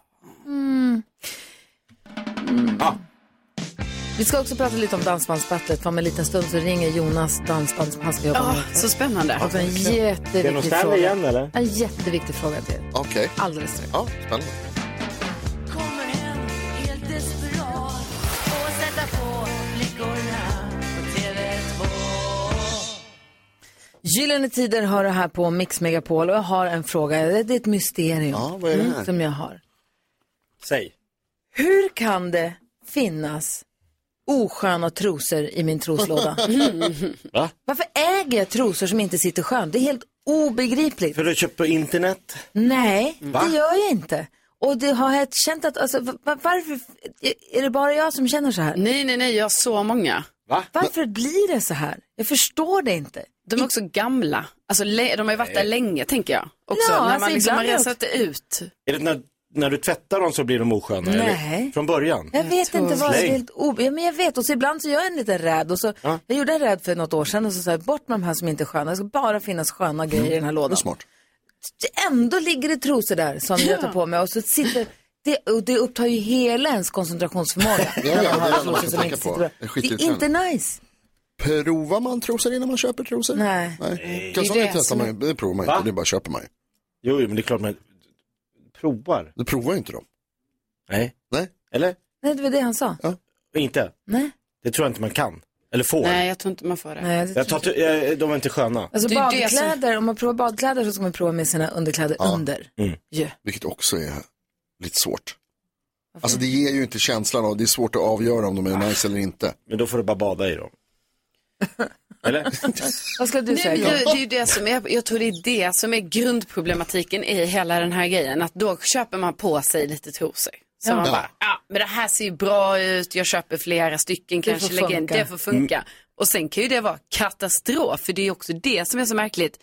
Speaker 1: Vi ska också prata lite om Dansbandsbattlet. För Om en liten stund så ringer Jonas Dansbandspass. Vi jobbar
Speaker 6: Ja,
Speaker 1: med.
Speaker 6: så spännande.
Speaker 1: Alltså en
Speaker 11: Det är någon
Speaker 1: jätteviktig
Speaker 11: stand
Speaker 1: fråga.
Speaker 11: igen, eller?
Speaker 1: En jätteviktig fråga till er.
Speaker 3: Okej.
Speaker 1: Alldeles strax.
Speaker 3: Ja, spännande.
Speaker 1: Gyllene Tider har du här på Mix Megapol och jag har en fråga. Det det är ett mysterium Mm,
Speaker 3: Ja, vad är det här?
Speaker 1: som jag har.
Speaker 11: Säg.
Speaker 1: Hur kan det finnas osköna trosor i
Speaker 3: <laughs>
Speaker 1: min troslåda?
Speaker 11: Va?
Speaker 1: Varför äger jag trosor som inte sitter skönt? Det är helt obegripligt.
Speaker 11: För du har köpt på internet?
Speaker 3: Mm.
Speaker 1: Nej,
Speaker 11: Va?
Speaker 1: det gör jag inte. Och det har jag känt att, alltså, va- va- varför, är det bara jag som känner så här?
Speaker 4: Nej, nej, nej, jag har så många.
Speaker 6: Va?
Speaker 1: Varför blir det så här? Jag förstår det inte.
Speaker 4: De är också gamla. Alltså, le- de har ju varit där länge, tänker jag. Också,
Speaker 1: Ja,
Speaker 4: när man
Speaker 1: alltså,
Speaker 4: liksom har
Speaker 1: ibland är
Speaker 4: rensat ut.
Speaker 6: Är det när, när du tvättar dem så blir de osköna?
Speaker 1: Nej.
Speaker 6: Eller? Från början?
Speaker 1: Jag vet
Speaker 4: tror-
Speaker 1: inte vad det är
Speaker 6: Släng.
Speaker 1: helt o... ja, men jag vet och så ibland så gör jag en liten rädd och så
Speaker 6: Ja.
Speaker 1: jag gjorde en rädd för något år sedan och så sa jag bort med de här som inte är sköna. Det ska bara finnas sköna grejer i den här
Speaker 3: Mm. Det är
Speaker 1: lådan.
Speaker 3: smart.
Speaker 1: Ändå ligger det trosor där som jag tar på mig och så sitter det, och det upptar ju hela ens koncentrationsförmåga.
Speaker 3: <laughs> Ja, ja, det är det enda
Speaker 1: trosor
Speaker 3: man kan
Speaker 1: som
Speaker 3: tänka
Speaker 1: inte sitter
Speaker 3: på.
Speaker 1: bra.
Speaker 3: Det är
Speaker 1: Det är
Speaker 3: skitirriterande.
Speaker 1: inte nice.
Speaker 3: Provar man trosor innan man köper trosor?
Speaker 1: Nej.
Speaker 3: Nej.
Speaker 4: Det är
Speaker 3: Kalsonger
Speaker 4: det
Speaker 3: testar
Speaker 4: som
Speaker 3: man ju, det provar man ju
Speaker 6: Va?
Speaker 3: inte, det bara köper man ju.
Speaker 6: Jo, jo, men det är klart man provar.
Speaker 3: Du provar ju inte dem.
Speaker 6: Nej.
Speaker 3: Nej.
Speaker 6: Eller?
Speaker 1: Nej, det var det han sa.
Speaker 6: Inte?
Speaker 1: Nej.
Speaker 6: Det tror jag inte man kan. Eller får.
Speaker 4: Nej, jag tror inte man får det.
Speaker 1: Nej, det
Speaker 6: Jag tar, t- eh, de är inte sköna.
Speaker 1: Alltså
Speaker 4: Det är det som-
Speaker 1: badkläder, om man provar badkläder så ska man prova med sina underkläder under.
Speaker 6: Mm.
Speaker 3: Vilket också är lite svårt. Alltså det ger ju inte känslan av, det är svårt att avgöra om de är nice eller inte.
Speaker 6: Men då får du bara bada i dem. Eller?
Speaker 1: Vad ska
Speaker 4: Nej,
Speaker 1: du
Speaker 4: men
Speaker 1: säga?
Speaker 4: det, det är ju det som är, jag tror det är det som är grundproblematiken i hela den här grejen. Att då köper man på sig lite trosor. Så man
Speaker 3: Ja.
Speaker 4: bara, ja men det här ser ju bra ut, jag köper flera stycken
Speaker 1: Det
Speaker 4: kanske,
Speaker 1: får
Speaker 4: lägger in,
Speaker 1: funka. Mm.
Speaker 4: det får funka. Och sen kan ju det vara katastrof, för det är ju också det som är så märkligt.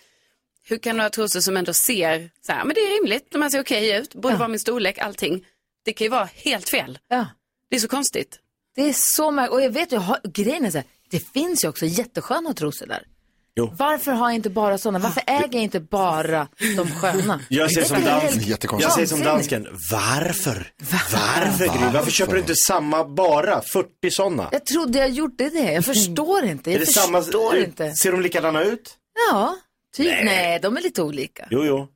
Speaker 4: Hur kan några trosor som ändå ser, så här, men det är rimligt, de här ser okej ut, borde vara min storlek, allting. Det kan ju vara helt fel.
Speaker 1: Ja.
Speaker 4: Det är så konstigt.
Speaker 1: Det är så märkligt. Och jag vet ju, har- grejen är så här, det finns ju också jättesköna trosor där.
Speaker 6: Jo. Ah.
Speaker 1: Varför har jag inte bara sådana? Varför äger jag inte bara de
Speaker 6: <laughs>
Speaker 1: sköna?
Speaker 6: Jag ser
Speaker 1: Det
Speaker 6: som
Speaker 1: är
Speaker 6: dans.
Speaker 1: helt-
Speaker 6: Jag
Speaker 3: Jättekonstigt.
Speaker 6: säger som
Speaker 1: Vansinnigt.
Speaker 6: dansken, varför? Varför Gry? Varför köper du inte samma bara 40 sådana?
Speaker 1: Jag trodde jag gjorde det.
Speaker 6: Mm.
Speaker 1: Jag förstår inte. Jag förstår inte.
Speaker 6: Ser de likadana ut?
Speaker 1: Ja, typ. Nej. de är lite olika.
Speaker 6: Jo, jo.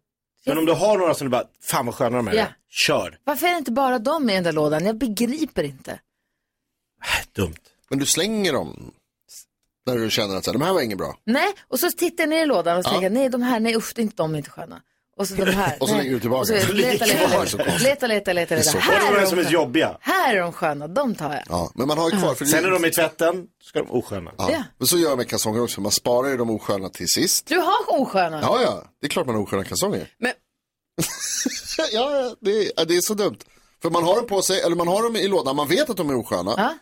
Speaker 6: Men om du har några som du bara, fan vad sköna de här
Speaker 1: Ja.
Speaker 6: är. Kör.
Speaker 1: Varför är det inte bara de i den där lådan? Jag begriper inte.
Speaker 6: Äh, Dumt.
Speaker 3: Men du slänger dem när du känner att så här, de här var inget bra.
Speaker 1: Nej, och så tittar jag ner i lådan och så tänker jag, nej de här, nej usch, det är inte de, är inte sköna. Och så de här.
Speaker 3: <laughs> Och så
Speaker 1: nej.
Speaker 3: lägger du tillbaka.
Speaker 1: Och så letar,
Speaker 3: Så
Speaker 1: letar,
Speaker 3: ligger kvar. Det är så
Speaker 1: letar,
Speaker 3: konstigt.
Speaker 1: letar, letar, letar,
Speaker 3: så
Speaker 1: letar.
Speaker 6: Och
Speaker 1: Här
Speaker 6: så
Speaker 1: är
Speaker 6: är
Speaker 1: de
Speaker 6: de som är
Speaker 1: sköna.
Speaker 6: jobbiga.
Speaker 1: Här är de sköna, de tar jag.
Speaker 3: Ja, men man har ju kvar. För det-
Speaker 6: Sen är de i tvätten, ska de osköna.
Speaker 3: ja. Men så gör jag med kalsonger också, man sparar ju de osköna till sist.
Speaker 1: Du har osköna.
Speaker 3: Ja, ja, det är klart man har osköna kalsonger.
Speaker 4: Men
Speaker 3: ja, det är, ja, det är så dumt. För man har dem på sig, eller man har dem i lådan, man vet att de är osköna.
Speaker 1: Ja.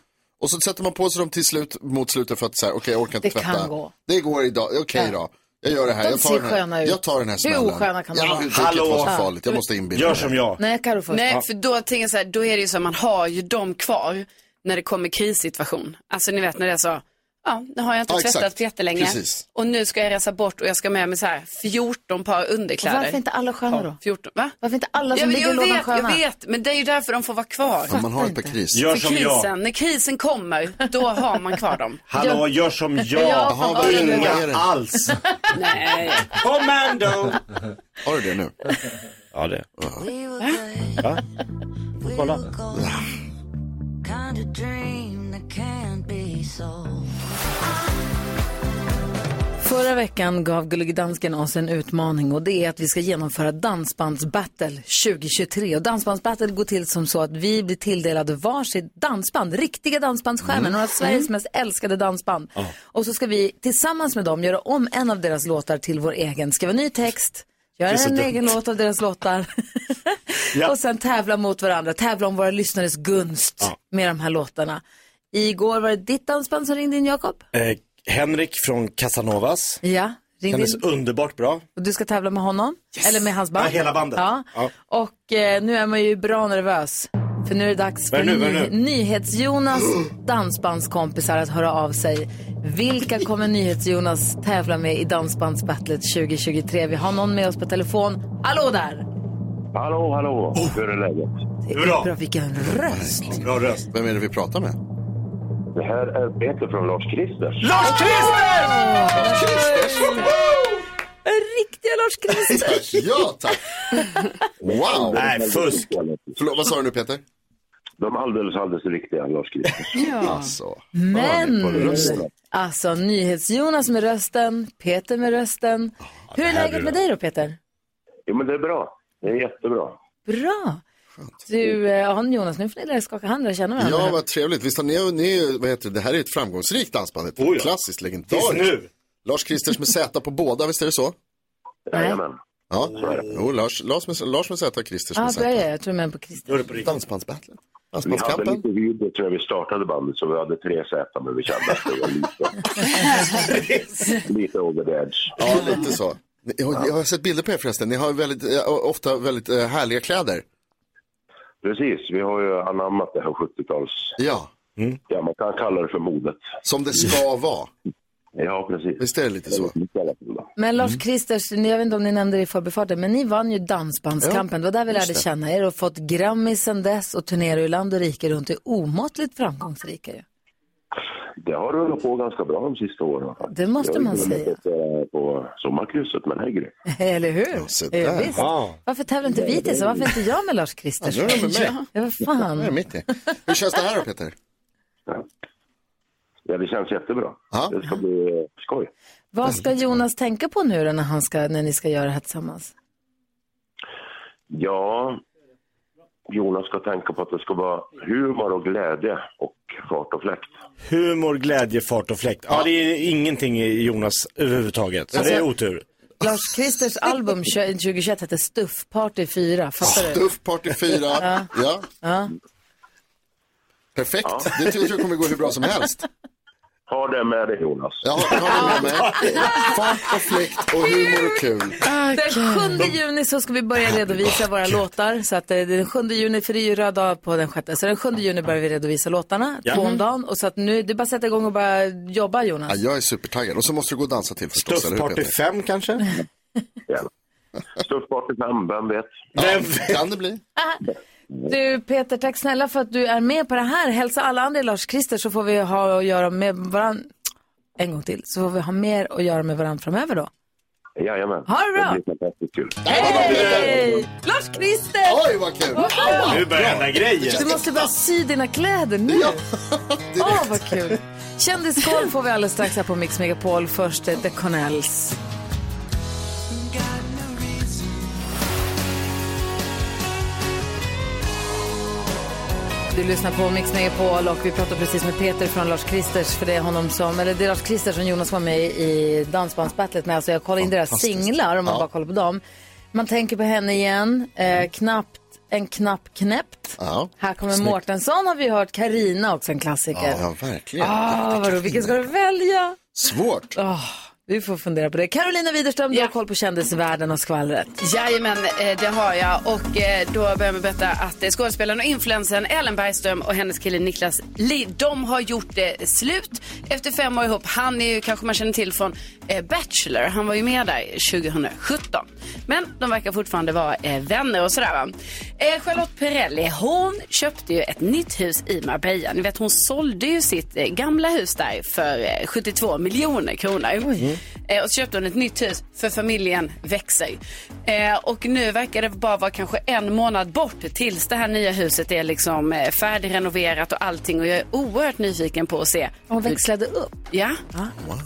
Speaker 3: Och så sätter man på sig dem till slut, mot slutet för att säga, okej jag orkar inte
Speaker 1: Det
Speaker 3: tvätta.
Speaker 1: kan gå.
Speaker 3: Det går idag, okej då. Jag gör det här,
Speaker 1: De
Speaker 3: jag tar,
Speaker 1: ser
Speaker 3: den
Speaker 1: sköna
Speaker 3: här.
Speaker 1: ut.
Speaker 3: jag tar den här
Speaker 1: Hur
Speaker 3: smällen.
Speaker 1: osköna kan de
Speaker 3: ja,
Speaker 1: vara?
Speaker 3: Det kan inte vara så
Speaker 6: Hallå.
Speaker 3: farligt, jag måste inbilda
Speaker 6: Gör
Speaker 3: mig.
Speaker 6: som jag.
Speaker 1: Nej, Carro först.
Speaker 4: Nej, för då tänker jag så här, då är det ju så att man har ju dem kvar när det kommer krissituation. Alltså ni vet när det är så, ja, nu har jag inte
Speaker 3: Ja,
Speaker 4: tvättat
Speaker 3: exakt.
Speaker 4: på jättelänge
Speaker 3: Precis.
Speaker 4: och nu ska jag resa bort och jag ska med mig så här 14 par underkläder.
Speaker 1: Varför inte alla sköna då?
Speaker 4: 14, va?
Speaker 1: Varför inte alla
Speaker 4: Ja,
Speaker 1: som
Speaker 4: men
Speaker 1: ligger i
Speaker 4: jag
Speaker 1: lådan
Speaker 4: vet, jag
Speaker 1: sköna?
Speaker 4: vet, men det är ju därför de får vara kvar.
Speaker 3: Ja, man har ett par kris.
Speaker 6: Gör
Speaker 4: För
Speaker 6: som jag.
Speaker 4: krisen, när krisen kommer, då har man kvar dem.
Speaker 6: Hallå, gör som
Speaker 1: Ja,
Speaker 6: jag.
Speaker 3: Jaha, vad är det?
Speaker 6: Inga
Speaker 3: Vad är det?
Speaker 6: alls.
Speaker 4: Nej,
Speaker 6: Commando!
Speaker 3: Har du det nu?
Speaker 6: Ja, det. Kolla.
Speaker 7: Kind of dream that can't be so.
Speaker 1: Förra veckan gav Gullige Dansken oss en utmaning och det är att vi ska genomföra Dansbandsbattle 2023. Och Dansbandsbattle går till som så att vi blir tilldelade varsitt dansband, riktiga dansbandsstjärnor,
Speaker 6: Mm.
Speaker 1: några av Sveriges mest älskade dansband. Och så ska vi tillsammans med dem göra om en av deras låtar till vår egen, skriva ny text, göra
Speaker 6: så
Speaker 1: en
Speaker 6: dumt.
Speaker 1: egen låt av deras
Speaker 6: <laughs>
Speaker 1: låtar och sen tävla mot varandra, tävla om våra lyssnares gunst med de här låtarna. Igår var det ditt dansband som ringde in, Jakob.
Speaker 6: Eh, Henrik från Casanovas.
Speaker 1: Ja, ringde
Speaker 6: Kändes
Speaker 1: in.
Speaker 6: underbart bra.
Speaker 1: Och du ska tävla med honom? Eller med hans band?
Speaker 6: Ja, hela bandet.
Speaker 1: Ja.
Speaker 6: Ja.
Speaker 1: Och eh, nu är man ju bra nervös. För nu är det dags
Speaker 6: Vad
Speaker 1: för
Speaker 6: är det nu? Vad är det nu?
Speaker 1: Nyhets-Jonas
Speaker 6: Mm.
Speaker 1: dansbandskompisar att höra av sig. Vilka kommer Nyhets-Jonas tävla med i Dansbandsbattlet 2023? Vi har någon med oss på telefon. Hallå där!
Speaker 9: Hallå, hallå.
Speaker 8: Oh.
Speaker 9: Hur är läget?
Speaker 1: Bra,
Speaker 6: Bra,
Speaker 1: vilken röst!
Speaker 6: bra röst.
Speaker 3: Vem är det vi pratar med?
Speaker 9: Det här är Peter från Lars-Christer.
Speaker 1: Riktiga Lars
Speaker 6: <laughs>
Speaker 1: Christer!
Speaker 3: ja, tack. <laughs> Wow.
Speaker 6: Nej, fusk.
Speaker 3: Förlåt, vad sa du nu Peter?
Speaker 9: De är alldeles, alldeles riktiga, Lars-Christer.
Speaker 3: Alltså,
Speaker 1: Men,
Speaker 3: på rösten.
Speaker 1: alltså Nyhets-Jonas med rösten, Peter med rösten. Hur är läget med dig då Peter?
Speaker 9: Jo, men det är bra. Det är jättebra.
Speaker 1: Bra. Du, eh, ja, Jonas, nu får ni lära skaka hand och känna varandra.
Speaker 3: Ja, vad trevligt. Visst har ni, ni är ju- vad heter det, det här är ju ett framgångsrikt dansband. Ett
Speaker 6: Oh ja.
Speaker 3: klassiskt,
Speaker 6: Tills
Speaker 3: legendariskt.
Speaker 6: nu.
Speaker 3: Lars Kristers med Z på båda, visst är det så?
Speaker 1: Nej.
Speaker 9: Jajamän.
Speaker 3: Ja, jo, Lars, Lars, med, Lars med Z och Christer som
Speaker 1: Ja,
Speaker 3: med
Speaker 1: då är
Speaker 3: Z.
Speaker 1: jag. Jag tror med på Christer.
Speaker 3: Dansbandsbattlen.
Speaker 9: Vi hade
Speaker 3: Dansbandskampen.
Speaker 9: lite video tror jag vi startade bandet så vi hade tre Z men vi kände att det var lite, lite over the edge.
Speaker 3: Ja, lite så. Ni- Jag, har- jag har sett bilder på er förresten. Ni har väldigt, eh, ofta väldigt eh, härliga kläder.
Speaker 9: Precis, vi har ju anammat det här 70-tals...
Speaker 3: Ja.
Speaker 9: Ja, man kan kalla det för modet.
Speaker 3: Som det ska vara.
Speaker 9: Ja, precis.
Speaker 3: Visst är det lite
Speaker 9: så?
Speaker 1: Men Lars
Speaker 3: Mm.
Speaker 1: Christers, ni- jag vet inte om ni nämnde det i förbifarten, men ni vann ju Dansbandskampen. Det var där vi
Speaker 3: just
Speaker 1: lärde
Speaker 3: det.
Speaker 1: känna er och fått Grammis sedan dess och turnerar ju land och rike runt. Det är omåttligt framgångsrika ju.
Speaker 9: Det har rullat på ganska bra de sista åren.
Speaker 1: Det måste
Speaker 9: Jag har
Speaker 1: man
Speaker 9: ju
Speaker 1: säga.
Speaker 9: sett det På sommarkrysset med Hägri.
Speaker 1: <laughs> Eller hur? Ja,
Speaker 9: där.
Speaker 1: visst.
Speaker 9: Wow.
Speaker 1: Varför tävlar inte vi till så? Varför inte jag med Lars Christers?
Speaker 3: Ja, nu är det med mig.
Speaker 1: <laughs> Ja, vad fan.
Speaker 3: Det är mitt i. Hur känns det här då Peter?
Speaker 9: Ja, det känns jättebra. Det ska bli eh, skoj.
Speaker 1: Vad ska Jonas tänka på nu då när, han ska, när ni ska göra det här tillsammans?
Speaker 9: Ja, Jonas ska tänka på att det ska vara humor och glädje och fart och fläkt.
Speaker 6: Humor, glädje, fart och fläkt. Ja, det är ingenting i Jonas överhuvudtaget. Så
Speaker 1: Alltså-
Speaker 6: det är otur.
Speaker 1: Lars Christers album tjö- 2021 hette Stuff Party 4, fattar du?
Speaker 3: Stuff Party 4.
Speaker 1: Ja.
Speaker 3: Ja,
Speaker 1: Ja.
Speaker 3: perfekt. Det tror jag kommer gå hur bra som helst.
Speaker 9: Ha det med dig Jonas.
Speaker 3: Ja, ha det med mig. Fart och fläkt och humor och kul.
Speaker 1: Den 7 juni så ska vi börja redovisa våra låtar. Så att eh, den 7 juni, för det är ju röd dag på den sjätte. Så den 7 juni börjar vi redovisa låtarna,
Speaker 3: Ja.
Speaker 1: två om dagen. Och så att nu, det är bara att sätta igång och bara jobba Jonas.
Speaker 3: Ja, jag är supertaggad. Och så måste du gå och dansa till förstås,
Speaker 6: Stuff Party 5 kanske?
Speaker 9: Stuff Party 5, vem vet?
Speaker 6: Vem
Speaker 3: Kan det bli?
Speaker 1: Du Peter, tack snälla för att du är med på det här. Hälsa alla andra i Lars Christer så får vi ha att göra med varandra en gång till. Så får vi ha mer att göra med varandra framöver då.
Speaker 9: Jajamän.
Speaker 1: Ha det bra.
Speaker 9: Det blir fantastiskt kul.
Speaker 1: Hej! Lars Christer!
Speaker 3: Oj, vad kul!
Speaker 6: Nu börjar hända grejer.
Speaker 1: Du måste bara sy dina kläder nu.
Speaker 2: <laughs>
Speaker 1: Åh, vad kul. Kändisskål får vi alldeles strax här på Mix Megapol. Först eh, The Connells. Du lyssnar på Mix Megapol och vi pratade precis med Peter från Lars Kristers för det är honom som, eller det är Lars Kristers som Jonas var med i Dansbandsbattlet med. Alltså jag kollar in deras
Speaker 2: Fantastiskt.
Speaker 1: singlar om man
Speaker 2: Ja.
Speaker 1: bara kollar på dem. Man tänker på henne igen, eh, knappt, en knapp knäppt. Här kommer
Speaker 2: Snyggt.
Speaker 1: Mårtensson har vi hört, Karina också en klassiker.
Speaker 3: Ja, verkligen.
Speaker 1: Ah, vadå, vilken ska du välja?
Speaker 3: Svårt.
Speaker 1: Ah, vi får fundera på det. Carolina Widerström, du har koll på kändisvärlden och skvallret.
Speaker 4: Jajamän, eh, det har jag. Och eh, då börjar jag med att berätta att eh, skådespelaren och influensen Ellen Bergström och hennes kille Niklas Li, de har gjort eh, slut efter fem år ihop. Han är ju, kanske man känner till från eh, Bachelor, han var ju med där 2017. Men de verkar fortfarande vara eh, vänner och sådär va. Eh, Charlotte Perrelli, hon köpte ju ett nytt hus i Marbella. Ni vet hon sålde ju sitt eh, gamla hus där för eh, 72 miljoner kronor. Eh, och så köpte hon ett nytt hus för familjen växer. Eh, och nu verkar det bara vara kanske en månad bort tills det här nya huset är liksom eh, färdigrenoverat och allting. Och jag är oerhört nyfiken på att se.
Speaker 1: Hon växlade upp.
Speaker 4: Ja,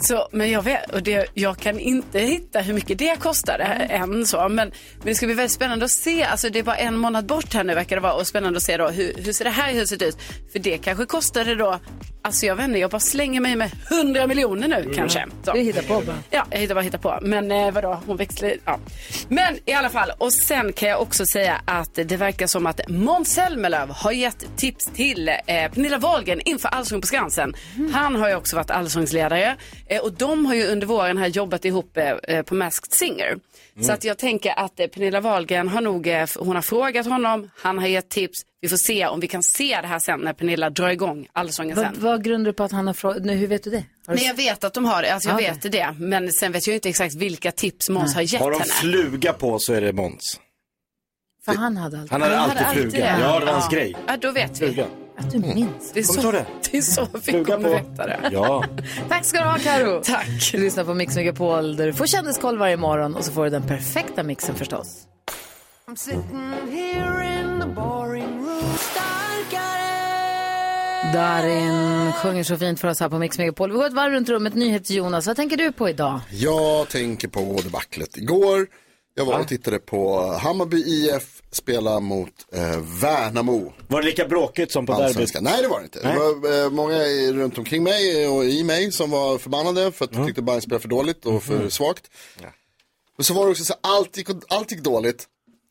Speaker 4: så, men jag, vet, och det, jag kan inte hitta hur mycket det kostade än. Så, men, men det ska bli väldigt spännande att se. Alltså, det är bara en månad bort här nu verkar det vara. Och spännande att se då, hur, hur ser det här huset ut? För det kanske kostade då, alltså jag vet inte, jag bara slänger mig med 100 miljoner nu kanske. Så.
Speaker 1: Du hittar på bara.
Speaker 4: Ja, jag hittar bara hittar på. Men eh, vadå, hon växlar ja. Men i alla fall, och sen kan jag också säga att det verkar som att Måns Zelmerlöw har gett tips till eh, Pernilla Wahlgren inför Allsång på Skansen. Han har ju också varit allsångsledare eh, och de har ju under våren här jobbat ihop eh, eh, på Masked Singer. Så
Speaker 2: Mm.
Speaker 4: att jag tänker att eh, Pernilla Wahlgren har nog, eh, hon har frågat honom, han har gett tips. Vi får se om vi kan se det här sen när Pernilla drar igång Allsången sen.
Speaker 1: Vad, vad grundar du på att han har frågat? Hur vet du det? Har du Ah,
Speaker 4: Nej, jag vet att de har det. Alltså, jag
Speaker 1: Ja,
Speaker 4: vet det. Men sen vet jag inte exakt vilka tips Måns har gett
Speaker 6: Har de
Speaker 4: henne.
Speaker 6: fluga på så är det Måns.
Speaker 1: För han hade alltid...
Speaker 6: Han hade alltid fluga. Ja, det var hans grej.
Speaker 4: Ja, då vet vi.
Speaker 6: Fluga.
Speaker 1: Att du minns.
Speaker 4: Det är
Speaker 6: Kommer du ta
Speaker 4: så,
Speaker 6: det?
Speaker 4: det är så vi kommer veta det.
Speaker 6: Ja.
Speaker 1: Tack ska du ha, Karo.
Speaker 4: Tack.
Speaker 1: Du lyssnar på Mix Megapol där du får kändiskoll varje morgon och så får du den perfekta mixen förstås.
Speaker 7: I'm sitting here in the boring room. Starkare.
Speaker 1: Darin sjunger så fint för oss här på Mix Megapol. Vi går ett varv runt rummet. NyhetsJonas, vad tänker du på idag?
Speaker 3: Jag tänker på debaclet igår. Jag var och tittade på Hammarby IF spela mot eh, Värnamo.
Speaker 6: Var det lika bråkigt som på
Speaker 3: Allsvenskan.
Speaker 6: derbyt?
Speaker 3: Nej, det var det inte.
Speaker 6: Nej.
Speaker 3: Det var eh, många i- runt omkring mig och i mig som var förbannade för att de tyckte Bayern spelade för dåligt och för svagt. Men så var det också så här, allt gick, allt gick dåligt.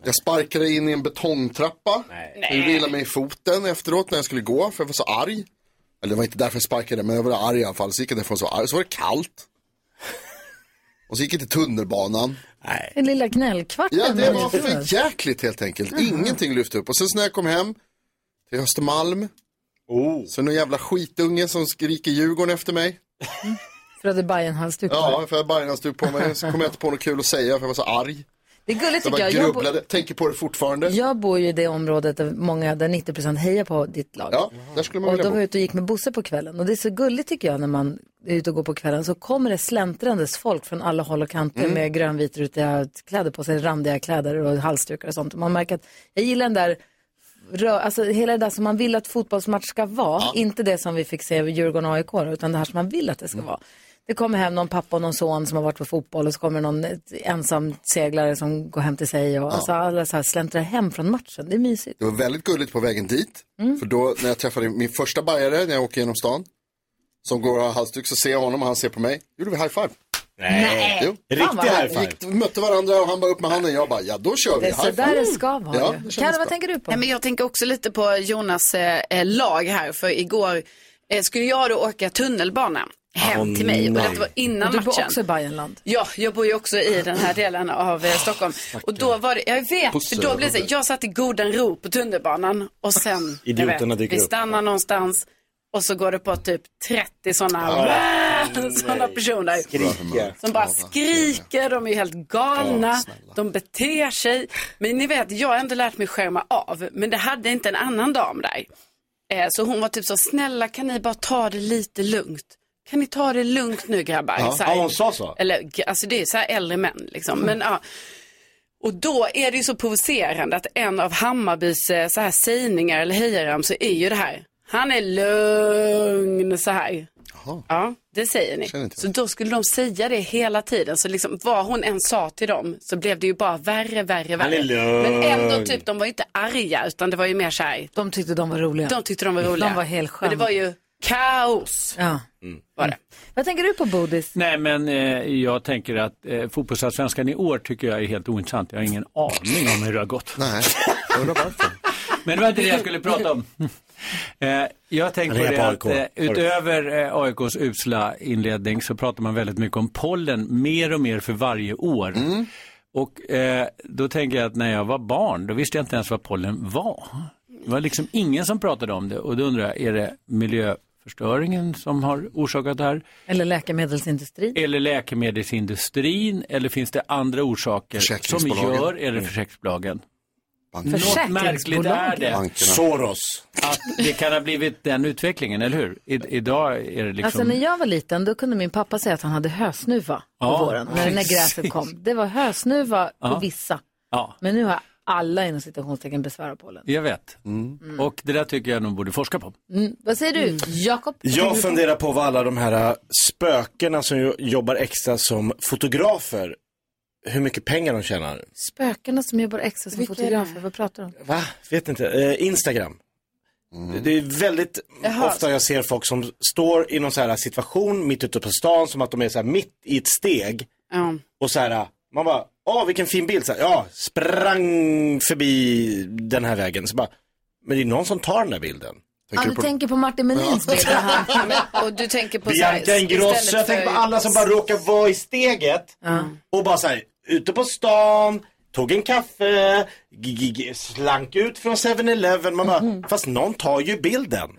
Speaker 3: Jag sparkade in i en betongtrappa. Jag gjorde illa mig i foten efteråt när jag skulle gå för jag var så arg. Eller det var inte därför jag sparkade men jag var arg i alla fall. Så gick jag därifrån så arg. Så var det kallt. Och så gick jag till tunnelbanan. Nej.
Speaker 1: Den lilla gnällkvarten.
Speaker 3: Ja, det
Speaker 1: men
Speaker 3: var
Speaker 1: inte för.
Speaker 3: för jäkligt helt enkelt. Ingenting lyfte upp. Och sen så när jag kom hem till Östermalm.
Speaker 6: Oh.
Speaker 3: Så någon jävla skitunge som skriker Djurgården efter mig.
Speaker 1: För att det är Bajenhalsduk.
Speaker 3: Ja, för jag bajade på mig. Så kom jag inte på något kul att säga för jag var så arg.
Speaker 1: Det är gulligt
Speaker 3: jag
Speaker 1: tycker
Speaker 3: bara
Speaker 1: jag. Jag, bo,
Speaker 3: grubblade, tänker på det fortfarande.
Speaker 1: jag bor ju i det området där många, där 90% hejar på ditt lag.
Speaker 3: Ja, där skulle man
Speaker 1: och
Speaker 3: vilja
Speaker 1: då var
Speaker 3: bo.
Speaker 1: jag ute och gick med Bosse på kvällen. Och det är så gulligt tycker jag när man är ute och går på kvällen. Så kommer det släntrandes folk från alla håll och kanter
Speaker 13: Mm.
Speaker 1: med grönvitrutiga kläder på sig, randiga kläder och halsdukar och sånt. Och man märker att jag gillar den där, rö- alltså hela det där som man vill att fotbollsmatch ska vara. Inte det som vi fick se vid Djurgården och AIK, då, utan det här som man vill att det
Speaker 3: Mm.
Speaker 1: ska vara. Det kommer hem någon pappa och någon son som har varit på fotboll och så kommer någon ensam seglare som går hem till sig och alltså alla så här släntrar hem från matchen. Det är mysigt.
Speaker 3: Det var väldigt gulligt på vägen dit.
Speaker 1: Mm.
Speaker 3: För då när jag träffade min första bajare när jag åker genom stan. Som går och har halsduk så ser jag honom och han ser på mig. Gjorde vi high five.
Speaker 1: Nej.
Speaker 3: Jo.
Speaker 1: Äh. Riktig Fan, vad high
Speaker 3: Vi
Speaker 1: härligt.
Speaker 3: gick- mötte varandra och han bara upp med handen. Jag bara, ja då kör vi.
Speaker 4: Det är så
Speaker 3: high five.
Speaker 4: där det ska vara
Speaker 3: Ja,
Speaker 4: ju.
Speaker 3: det
Speaker 4: Kan-
Speaker 3: kändes
Speaker 4: vad
Speaker 3: bra.
Speaker 1: tänker du på?
Speaker 4: Nej, men jag tänker också lite på Jonas eh, eh, lag här, för igår eh, skulle jag då åka tunnelbana hem
Speaker 1: Åh,
Speaker 4: till mig
Speaker 1: nej.
Speaker 4: och det var innan
Speaker 1: Och du bor
Speaker 4: matchen.
Speaker 1: också i Bajenland?
Speaker 4: Ja, jag bor ju också i den här delen av eh,
Speaker 6: Ah,
Speaker 4: Stockholm. Och då var det, jag vet,
Speaker 6: Pussar
Speaker 4: för då blev det så,
Speaker 6: och-
Speaker 4: jag satt i godan ro på tunnelbanan och sen, jag
Speaker 6: Idioterna
Speaker 4: vet,
Speaker 6: dyker
Speaker 4: vi
Speaker 6: upp.
Speaker 4: stannar någonstans och så går det på typ 30 sådana,
Speaker 6: Ah,
Speaker 4: <laughs> sådana personer.
Speaker 6: Skrika.
Speaker 4: Som bara skriker, de är helt galna, de beter sig. Men ni vet, jag har ändå lärt mig skärma av, men det hade inte en annan dam där. Eh, Så hon var typ så, snälla kan ni bara ta det lite lugnt? Kan ni ta det lugnt nu grabbar?
Speaker 6: Ja.
Speaker 4: Så här.
Speaker 6: Ja, hon sa så.
Speaker 4: Eller, g- alltså det är så här äldre män liksom. Men, ja. Och då är det ju så provocerande att en av Hammarbys eh, så här sägningar eller hejaram så är ju det här. Han är lugn så här. Ja, det säger ni. Så då skulle de säga det hela tiden. Så liksom vad hon än sa till dem så blev det ju bara värre, värre,
Speaker 6: Han är
Speaker 4: värre.
Speaker 6: lugn.
Speaker 4: Men ändå typ, de var ju inte arga utan det var ju mer så här.
Speaker 1: De tyckte de var roliga.
Speaker 4: De tyckte de var roliga.
Speaker 1: De var helt
Speaker 4: Men det
Speaker 1: sköna.
Speaker 4: var ju kaos.
Speaker 1: Ja.
Speaker 4: Var det.
Speaker 1: Vad tänker du på Bodis?
Speaker 14: Nej, men eh, jag tänker att eh, fotbollsallsvenskan i år tycker jag är helt ointressant. Jag har ingen aning om hur det har gått.
Speaker 3: Nej, jag undrar varför.
Speaker 14: Men det var inte det jag skulle prata om. <laughs> Eh, jag tänkte på
Speaker 6: Rea
Speaker 14: det att
Speaker 6: på AIK.
Speaker 14: eh, utöver eh, AIKs usla inledning så pratar man väldigt mycket om pollen mer och mer för varje år. Och eh, då tänker jag att när jag var barn, då visste jag inte ens vad pollen var. Det var liksom ingen som pratade om det och då undrar jag, är det miljöförstöringen som har orsakat det här?
Speaker 1: Eller läkemedelsindustrin?
Speaker 14: Eller läkemedelsindustrin? Eller finns det andra orsaker som
Speaker 6: Försäkringsbolagen.
Speaker 14: gör, eller försäkringsbolagen? Något
Speaker 6: Försäkringsbolagen.
Speaker 14: märkligt är
Speaker 3: liksom.
Speaker 14: det.
Speaker 6: Bankerna. Soros.
Speaker 14: Att det kan ha blivit den utvecklingen, eller hur? I, idag är det liksom...
Speaker 1: Alltså när jag var liten då kunde min pappa säga att han hade hösnuva
Speaker 14: Ja,
Speaker 1: på våren, när, när
Speaker 14: precis.
Speaker 1: gräset kom. Det var hösnuva
Speaker 14: Ja.
Speaker 1: på vissa.
Speaker 14: Ja,
Speaker 1: Men nu har alla inom citationstecken besvär av pollen.
Speaker 14: jag vet. Och det där tycker jag nog borde forska på.
Speaker 1: Mm. Vad säger du, Jakob? Vad tänker
Speaker 6: Jag
Speaker 1: du på?
Speaker 6: funderar på vad alla de här äh, spökena som jo- jobbar extra som fotografer, hur mycket pengar de tjänar.
Speaker 1: Spökena som jobbar extra som
Speaker 4: Vilka är
Speaker 1: fotografer, vad pratar du om?
Speaker 6: Va? Vet inte. Eh, Instagram. Det- Det är väldigt
Speaker 1: Jaha.
Speaker 6: ofta jag ser folk som står i någon så här situation mitt ute på stan som att de är så här mitt i ett steg.
Speaker 4: Ja.
Speaker 6: Och så här, äh, man bara, åh vilken fin bild. Så här, ja, sprang förbi den här vägen. Så bara, men det är någon som tar den där bilden.
Speaker 1: Ja, du tänker på Martin Melins bild. där han-
Speaker 4: Och du tänker på
Speaker 6: Bianca Ingrosso, jag tänker på alla som bara råkar vara i steget och bara såhär, ute på stan, tog en kaffe, g- g- g- slank ut från 7-Eleven, man bara, fast någon tar ju bilden.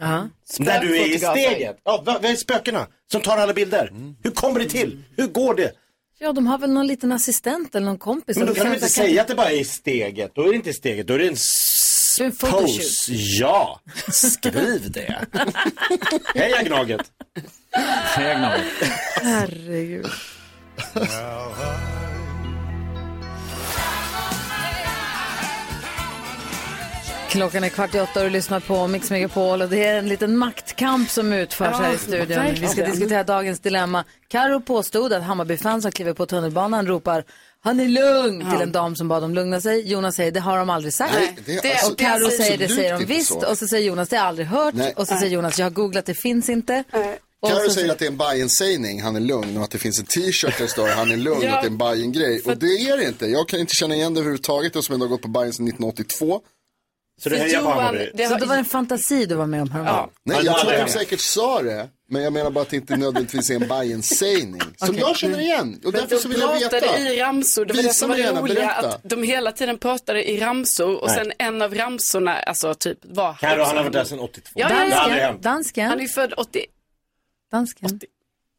Speaker 6: När du är i
Speaker 1: Mhm. Spökfotografer. Mm.
Speaker 6: steget. Ja, vad vad är spökena som tar alla bilder? Hur kommer det till? Hur går det?
Speaker 1: Ja, de har väl någon liten assistent eller någon kompis.
Speaker 6: Men då
Speaker 1: som
Speaker 6: kan de inte
Speaker 1: kan-
Speaker 6: säga att det bara är i steget, då är det inte i steget, då är det en s-
Speaker 1: Det är en photoshoot.
Speaker 6: pose.
Speaker 1: <laughs>
Speaker 6: Ja, skriv det. Heja Gnaget.
Speaker 14: Heja Gnaget.
Speaker 1: Herregud. Klockan är kvart i åtta och du lyssnar på Mix Megapol och det är en liten maktkamp som utförs
Speaker 13: Ja,
Speaker 1: här i studion. Vi ska
Speaker 13: verkligen.
Speaker 1: diskutera dagens dilemma. Karo påstod att Hammarbyfans som kliver på tunnelbanan ropar han är lugn till en dam som bad dem lugna sig. Jonas säger det har de aldrig sagt.
Speaker 3: Nej, det är Det- alltså-
Speaker 1: och Karo
Speaker 3: absolut
Speaker 1: säger det säger de
Speaker 3: inte
Speaker 1: visst.
Speaker 3: så.
Speaker 1: Och så säger Jonas det har jag aldrig hört.
Speaker 3: Nej.
Speaker 1: Och så säger Jonas jag har googlat det finns inte. Och
Speaker 3: Carro
Speaker 1: så-
Speaker 3: säger att det är en Bajen-sägning, han är lugn, och att det finns en t-shirt där det står han är lugn,
Speaker 1: Ja.
Speaker 3: att det är en Bajen-grej. Och det är det inte. Jag kan inte känna igen det överhuvudtaget eftersom jag har gått på Bajen sedan 1982. Så
Speaker 1: Så det var en fantasi du var med om häromdagen?
Speaker 3: Nej, jag tror att de säkert sa det, men jag menar bara att det inte nödvändigtvis är en Bajen-sägning. Som
Speaker 4: Okej.
Speaker 3: jag känner igen, och
Speaker 4: Men
Speaker 3: därför
Speaker 4: de
Speaker 3: så vill jag veta.
Speaker 4: pratade i ramsor. Det var det
Speaker 3: Visa
Speaker 4: som var
Speaker 3: mig
Speaker 4: det
Speaker 3: gärna,
Speaker 4: roliga.
Speaker 3: berätta.
Speaker 4: Att de hela tiden pratade i ramsor och
Speaker 6: Nej.
Speaker 4: sen en av ramsorna, alltså typ var...
Speaker 6: Carro, han har varit där sedan 82.
Speaker 4: Ja,
Speaker 6: Det har aldrig
Speaker 4: ja,
Speaker 6: hänt.
Speaker 4: ja.
Speaker 1: Dansken.
Speaker 4: Han är ju född 80...
Speaker 1: Dansken.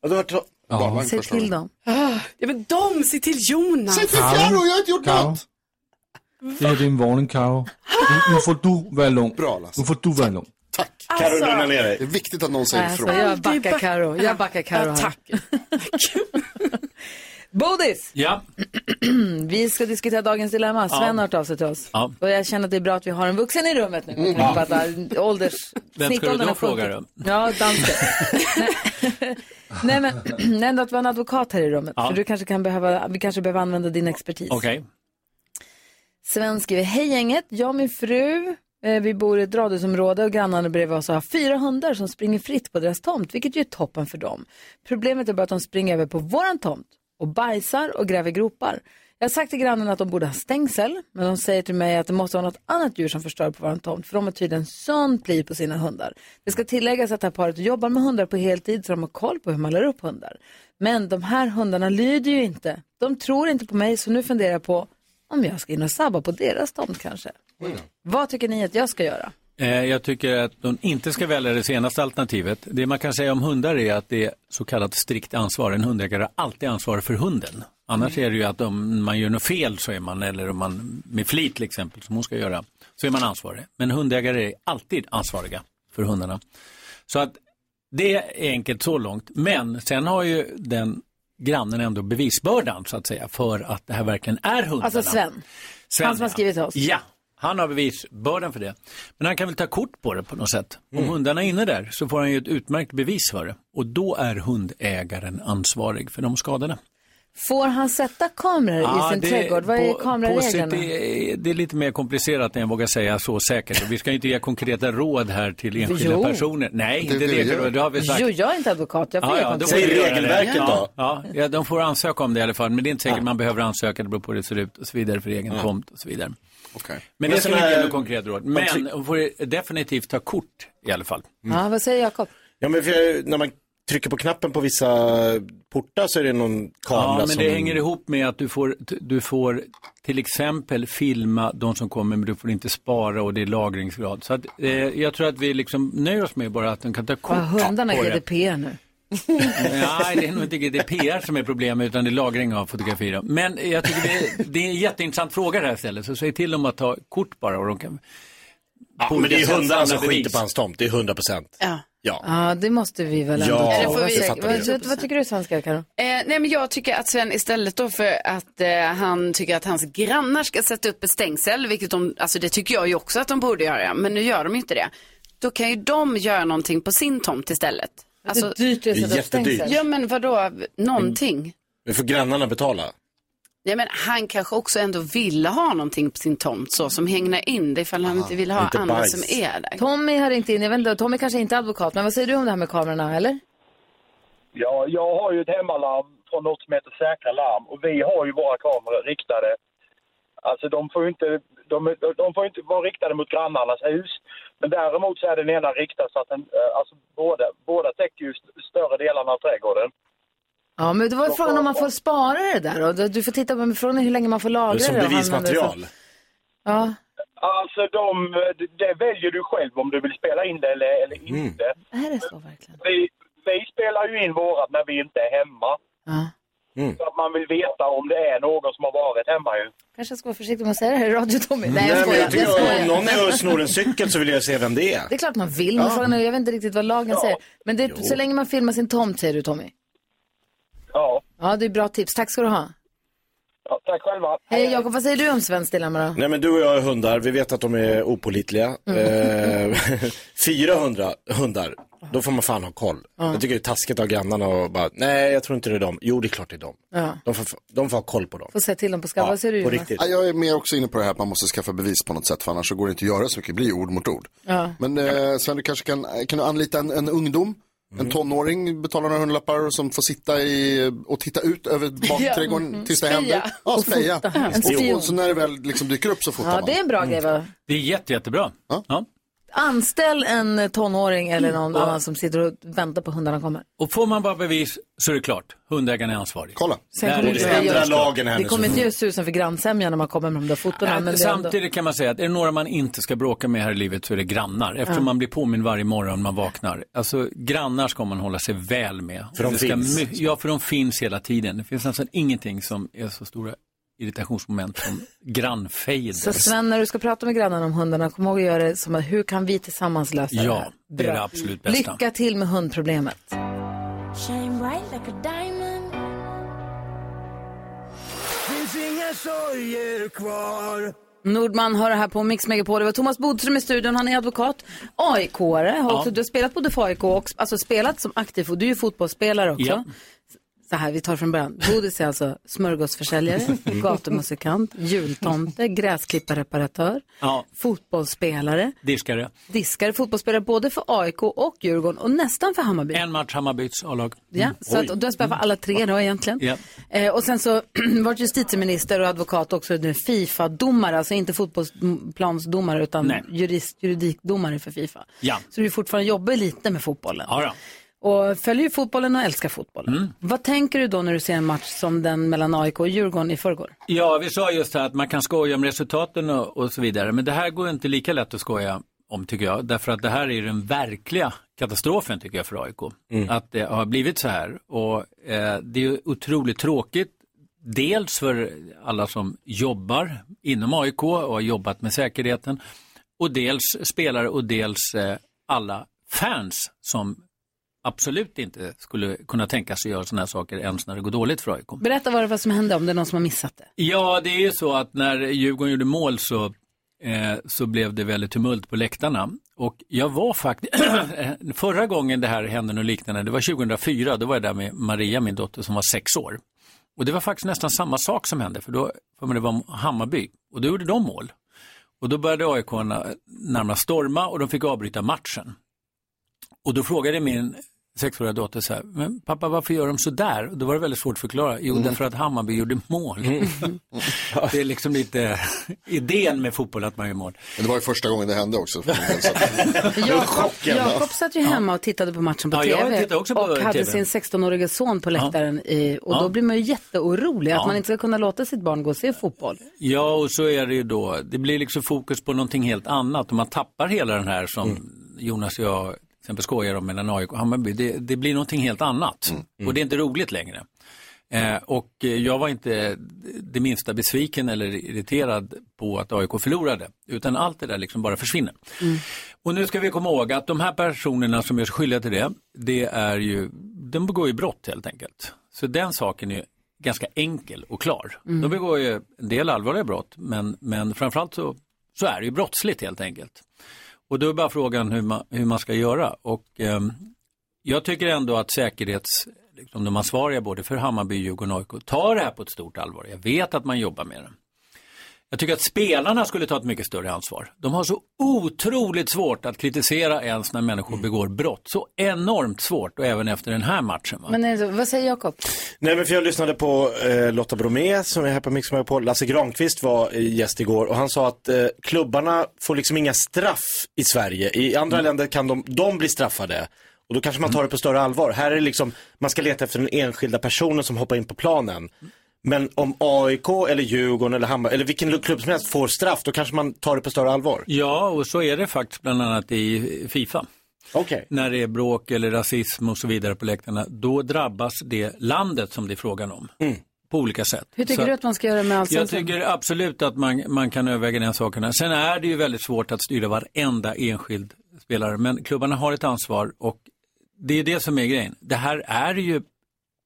Speaker 6: Ja, du har varit barnvagn
Speaker 1: Se
Speaker 6: första
Speaker 1: till dem.
Speaker 4: Ah, Ja, men de, se till Jonas.
Speaker 3: Se
Speaker 5: till Carro, jag har inte gjort Carro. något. Det är din varning, Karo. Nu får du vara lugn.
Speaker 3: Bra,
Speaker 5: Nu får du vara lugn.
Speaker 1: Alltså. Karo, lugna
Speaker 3: ner dig. Det är viktigt att någon säger
Speaker 1: Nej,
Speaker 3: ifrån.
Speaker 1: alltså, jag backar Karo. Jag backar Karo här. Tack. Bodis,
Speaker 14: Ja.
Speaker 1: vi ska diskutera dagens dilemma. Sven
Speaker 14: Ja.
Speaker 1: har hört av sig till oss.
Speaker 14: Ja.
Speaker 1: Och jag känner att det är bra att vi har en vuxen i rummet nu.
Speaker 14: Mm.
Speaker 1: Mm. Att, äh, ålders...
Speaker 14: Vem ska du
Speaker 1: snittåldern
Speaker 14: då
Speaker 1: har
Speaker 14: fråga
Speaker 1: sjunkit.
Speaker 14: då?
Speaker 1: Ja,
Speaker 14: <laughs>
Speaker 1: dansken. Nej, Nej, men ändå att vi har en advokat här i rummet.
Speaker 14: Ja.
Speaker 1: För du kanske kan behöva, vi kanske behöver använda din expertis.
Speaker 14: Okej.
Speaker 1: Sven skriver, hej gänget, jag och min fru, eh, vi bor i ett radhusområde och grannarna bredvid oss har fyra hundar som springer fritt på deras tomt, vilket ju är toppen för dem. Problemet är bara att de springer över på våran tomt och bajsar och gräver gropar. Jag har sagt till grannen att de borde ha stängsel, men de säger till mig att det måste vara något annat djur som förstör på våran tomt, för de har tydligen sånt liv på sina hundar. Det ska tilläggas att det här paret jobbar med hundar på heltid, så de har koll på hur man lär upp hundar. Men de här hundarna lyder ju inte. De tror inte på mig, så nu funderar jag på om jag ska in och sabba på deras tomt kanske. Vad tycker ni att jag ska göra?
Speaker 14: Eh, Jag tycker att de inte ska välja det senaste alternativet. Det man kan säga om hundar är att det är så kallat strikt ansvar. En hundägare har alltid ansvar för hunden. Annars är det ju att om man gör något fel så är man, eller om man med flit till exempel, som hon ska göra, så är man ansvarig. Men hundägare är alltid ansvariga för hundarna. Så att det är enkelt så långt. Men sen har ju den grannen ändå bevisbördan så att säga för att det här verkligen är hundarna.
Speaker 1: Alltså Sven,
Speaker 14: Sven,
Speaker 1: han som har
Speaker 14: ja.
Speaker 1: skrivit till oss.
Speaker 14: Ja, han har bevisbördan för det. Men han kan väl ta kort på det på något sätt. Om
Speaker 1: Mm.
Speaker 14: hundarna är inne där så får han ju ett utmärkt bevis för det. Och då är hundägaren ansvarig för de skadorna.
Speaker 1: Får han sätta kameror i sin trädgård? Vad är
Speaker 14: på-
Speaker 1: kamerareglerna?
Speaker 14: på sitt- det, är- det är lite mer komplicerat än jag vågar säga så säkert. Och vi ska ju inte ge konkreta råd här till enskilda
Speaker 1: Jo.
Speaker 14: personer. Nej,
Speaker 1: Det är
Speaker 14: inte
Speaker 1: det vi
Speaker 14: regler.
Speaker 1: gör.
Speaker 14: Det har vi sagt.
Speaker 1: Jo, jag är inte advokat. Jag får ja,
Speaker 14: då får vi göra det. Ja, ja, de får ansöka om det i alla fall, men det är inte säkert man behöver ansöka, det beror på hur det ser ut och så vidare för egen
Speaker 6: Ja.
Speaker 14: tomt och så vidare.
Speaker 3: Okay.
Speaker 14: Men
Speaker 6: Men
Speaker 14: det ska vi
Speaker 6: såna
Speaker 14: inte ge
Speaker 6: här-
Speaker 14: något konkret råd.
Speaker 6: man
Speaker 14: Men
Speaker 6: tryck-
Speaker 14: hon får definitivt ta kort i alla fall.
Speaker 1: Ja, vad säger Jakob?
Speaker 6: Ja, men för, när man trycker på knappen på vissa portar så är det någon kamera
Speaker 14: Ja, men
Speaker 6: som...
Speaker 14: det hänger ihop med att du får, du får till exempel filma de som kommer, men du får inte spara och det är lagringsgrad. Så att, eh, jag tror att vi liksom nöjer oss med bara att de kan ta kort
Speaker 1: Vad har hundarna
Speaker 14: Mm. på det.
Speaker 1: GDPR nu?
Speaker 14: Nej, det är nog inte GDPR som är problemet utan det är lagring av fotografier. Men jag tycker det är, det är en jätteintressant fråga det här stället. Så säg till dem att ta kort bara och de kan...
Speaker 6: Ja,
Speaker 14: på
Speaker 6: men det
Speaker 14: olika
Speaker 6: är
Speaker 14: sätt
Speaker 6: hundarna som
Speaker 14: samla bevis.
Speaker 6: skiter på hans tomt, det är 100 procent.
Speaker 4: Ja.
Speaker 6: Ja.
Speaker 1: Ja, det måste vi väl ändå
Speaker 6: Ja,
Speaker 1: tro.
Speaker 6: det
Speaker 1: Vad,
Speaker 6: vi-
Speaker 1: säger-
Speaker 6: fattar vi.
Speaker 1: vad, vad, vad tycker du svenska, Karo?
Speaker 4: Eh, nej men jag tycker att Sven istället då för att eh, han tycker att hans grannar ska sätta upp ett stängsel, vilket de, alltså det tycker jag ju också att de borde göra, men nu gör de ju inte det. Då kan ju de göra någonting på sin tomt istället. Alltså,
Speaker 1: det är dyrt att sätta upp Jättedyrt. stängsel.
Speaker 4: Ja men vadå, någonting.
Speaker 6: Nu får grannarna betala.
Speaker 4: Nej men han kanske också ändå ville ha någonting på sin tomt så som hängnar in det ifall han inte vill ha
Speaker 6: inte
Speaker 4: andra
Speaker 6: bajs.
Speaker 4: som är där.
Speaker 1: Tommy har ringt in. Jag vet inte, Tommy kanske inte är advokat, men vad säger du om det här med kamerorna, eller?
Speaker 13: Ja, jag har ju ett hemmalarm från något som heter Säkra Larm och vi har ju våra kameror riktade. Alltså de får ju inte, de, de får ju inte vara riktade mot grannarnas hus. Men däremot så är den ena riktad så att den, eh, alltså båda, båda täcker ju st- större delarna av trädgården.
Speaker 1: Ja, men det var frågan om man får spara det där och du får titta på frågan är hur länge man får lagra det.
Speaker 6: som
Speaker 1: och använda det för-
Speaker 6: bevismaterial.
Speaker 1: Ja,
Speaker 13: Alltså de, det- det väljer du själv om du vill spela in det eller, eller inte.
Speaker 1: är det så verkligen?
Speaker 13: Vi, vi spelar ju in vårat när vi inte är hemma.
Speaker 1: Ja.
Speaker 13: Så att man vill veta om det är någon som har varit hemma ju.
Speaker 1: Kanske jag ska vara försiktig med att säga det här i radio, Tommy. Nej, jag
Speaker 6: Nej, men
Speaker 1: skojar.
Speaker 6: jag
Speaker 1: Jag
Speaker 6: tycker om
Speaker 1: skojar.
Speaker 6: någon är och snor en cykel så vill jag se vem det är.
Speaker 1: Det är klart man vill, men
Speaker 6: Ja.
Speaker 1: frågan är, jag vet inte riktigt vad lagen säger. Men det, är- så länge man filmar sin tomt, säger du Tommy.
Speaker 13: Ja.
Speaker 1: Ja, det är bra tips. Tack ska du ha.
Speaker 13: Ja, tack själva.
Speaker 1: Hej Jakob, vad säger du om Svens dilemma då?
Speaker 6: Nej men du och jag är hundar, vi vet att de är opolitliga.
Speaker 1: Mm.
Speaker 6: Eh, <laughs> 400 hundar, då får man fan ha koll.
Speaker 1: Ja.
Speaker 6: Jag tycker det är taskigt av grannarna och bara, nej jag tror inte det är dem. Jo det är klart det är dem.
Speaker 1: Ja.
Speaker 6: De får, de får ha koll på dem.
Speaker 1: Får säga till dem på skall. vad säger du Jonas?
Speaker 3: Ja, jag är mer också inne på det här att man måste skaffa bevis på något sätt för annars så går det inte att göra så mycket, det blir ju ord mot ord.
Speaker 1: Ja.
Speaker 3: Men eh, Sven, du kanske kan, kan du anlita en, en ungdom En tonåring betalar några hundralappar som får sitta i och titta ut över bakträdgården
Speaker 1: <laughs> Ja, mm.
Speaker 3: tills det
Speaker 1: Speja.
Speaker 3: händer. Ja,
Speaker 1: Och
Speaker 3: speja.
Speaker 1: fota. En
Speaker 3: Och,
Speaker 1: spion.
Speaker 3: och så när det väl liksom dyker upp så fotar
Speaker 1: Ja,
Speaker 3: man.
Speaker 1: det är en bra grej va?
Speaker 14: Det är jätte, jättebra. Ja.
Speaker 1: Anställ en eh, tonåring eller någon annan som sitter och väntar på hundarna kommer.
Speaker 14: Och får man bara bevis så är det klart. Hundägaren är ansvarig.
Speaker 3: Kolla.
Speaker 1: Sen kommer det inte göra- Det kommer inte göra susen för grannsämjan när man kommer med de där fotona. Men det är ändå...
Speaker 14: Samtidigt kan man säga att är det några man inte ska bråka med här i livet så är det grannar. Eftersom
Speaker 1: Ja.
Speaker 14: man blir påmind varje morgon man vaknar. Alltså grannar ska man hålla sig väl med.
Speaker 6: För de
Speaker 14: Det ska
Speaker 6: finns.
Speaker 14: my- Ja, för de finns hela tiden. Det finns nästan ingenting som är så stora irritationsmoment som grannfejder.
Speaker 1: Så Sven, när du ska prata med grannarna om hundarna, kom ihåg att göra det som att hur kan vi tillsammans lösa det
Speaker 14: Ja,
Speaker 1: här?
Speaker 14: det är
Speaker 1: Bra.
Speaker 14: det absolut bästa.
Speaker 1: Lycka till med hundproblemet.
Speaker 7: Shine bright like a diamond
Speaker 11: Finns inga sorger kvar
Speaker 1: Nordman hör det här på Mix Megapol. Det var Thomas Bodström i studion, han är advokat, AIK-are. har
Speaker 11: Ja.
Speaker 1: också- Du har spelat både för AIK och alltså spelat som aktiv och du är ju fotbollsspelare också.
Speaker 11: Ja.
Speaker 1: Så här, vi tar från början. Bodis är alltså
Speaker 14: <laughs>
Speaker 1: smörgåsförsäljare, gatumusikant, jultomte, gräsklipparreparatör,
Speaker 14: Ja,
Speaker 1: fotbollsspelare,
Speaker 14: diskare.
Speaker 1: diskare, fotbollsspelare både för AIK och Djurgården och nästan för Hammarby.
Speaker 14: En match Hammarbys A-lag.
Speaker 1: Ja, så att, och du har spelat för alla tre då egentligen.
Speaker 14: Mm. Ja.
Speaker 1: Eh, och sen så <clears throat> varit justitieminister och advokat också, nu Fifa-domare, alltså inte fotbollsplansdomare utan
Speaker 14: Nej.
Speaker 1: jurist, juridikdomare för Fifa.
Speaker 14: Ja.
Speaker 1: Så du fortfarande jobbar lite med fotbollen.
Speaker 14: Ja, Mm. då.
Speaker 1: Och följer ju fotbollen och älskar fotbollen. Vad tänker du då när du ser en match som den mellan AIK och Djurgården i förrgår?
Speaker 14: Ja, vi sa just här att man kan skoja om resultaten och, och så vidare. Men det här går inte lika lätt att skoja om tycker jag. Därför att det här är den verkliga katastrofen tycker jag för AIK. Att det har blivit så här. Och eh, det är ju otroligt tråkigt. Dels för alla som jobbar inom AIK och har jobbat med säkerheten. Och dels spelare och dels eh, alla fans som absolut inte skulle kunna tänka sig göra sådana här saker ens när det går dåligt för AIK.
Speaker 1: Berätta vad det var som hände om det är någon som har missat det.
Speaker 14: Ja, det är ju så att när Djurgården gjorde mål så, eh, så blev det väldigt tumult på läktarna. Och jag var faktiskt, <clears throat> förra gången det här hände något liknande, det var 2004, då var jag där med Maria, min dotter, som var sex år. Och det var faktiskt nästan samma sak som hände, för då, för det var Hammarby, och då gjorde de mål. Och då började AIK närmast storma och de fick avbryta matchen. Och då frågade min sexåriga dotter så här, men pappa varför gör de så där? Och då var det väldigt svårt att förklara. Jo, därför att Hammarby gjorde mål. <laughs> Det är liksom lite idén med fotboll att man gör mål.
Speaker 3: Det var ju första gången det hände också.
Speaker 1: <laughs> Jakob, Jakob satt ju hemma och tittade på matchen på
Speaker 14: Ja, jag
Speaker 1: tv
Speaker 14: tittade också på
Speaker 1: och hade
Speaker 14: TV.
Speaker 1: sin 16-åriga son på läktaren. I, och då
Speaker 14: Ja.
Speaker 1: blir man ju jätteorolig att
Speaker 14: Ja.
Speaker 1: man inte ska kunna låta sitt barn gå och se fotboll.
Speaker 14: Ja, och så är det ju då. Det blir liksom fokus på någonting helt annat och man tappar hela den här som Jonas och jag till exempel skojar om mellan AIK och Hammarby. Det, det blir någonting helt annat och det är inte roligt längre. Eh, och eh, jag var inte det minsta besviken eller irriterad på att AIK förlorade, utan allt det där liksom bara försvinner. Och nu ska vi komma ihåg att de här personerna som gör sig skyldiga till det, det är ju, de begår ju brott helt enkelt. Så den saken är ju ganska enkel och klar.
Speaker 15: Mm.
Speaker 14: De begår ju en del allvarliga brott, men, men framförallt så, så är det ju brottsligt helt enkelt. Och då är bara frågan hur man, hur man ska göra. Och, ehm, jag tycker ändå att säkerhets, liksom de ansvariga både för Hammarby, Djurgården och AIK tar det här på ett stort allvar. Jag vet att man jobbar med det. Jag tycker att spelarna skulle ta ett mycket större ansvar. De har så otroligt svårt att kritisera ens när människor begår brott. Så enormt svårt och även efter den här matchen. Va?
Speaker 1: Men är det så- vad säger Jakob?
Speaker 6: Nej men för jag lyssnade på eh, Lotta Bromé som är här på Mix på. Lasse Granqvist var eh, gäst igår och han sa att eh, klubbarna får liksom inga straff i Sverige. I andra länder kan de, de bli straffade. Och då kanske man tar det på större allvar. Här är det liksom, man ska leta efter den enskilda personen som hoppar in på planen. Men om AIK eller Djurgården eller Hammarby, eller vilken klubb som helst får straff, då kanske man tar det på större allvar.
Speaker 14: Ja, och så är det faktiskt bland annat i Fifa. När det är bråk eller rasism och så vidare på läktarna, då drabbas det landet som det är frågan om. På olika sätt.
Speaker 1: Hur tycker
Speaker 14: Så
Speaker 1: du att man ska göra med
Speaker 14: Jag
Speaker 1: allsvenskan?
Speaker 14: tycker absolut att man, man kan överväga den sakerna. Sen är det ju väldigt svårt att styra varenda enskild spelare, men klubbarna har ett ansvar och det är det som är grejen. Det här är ju,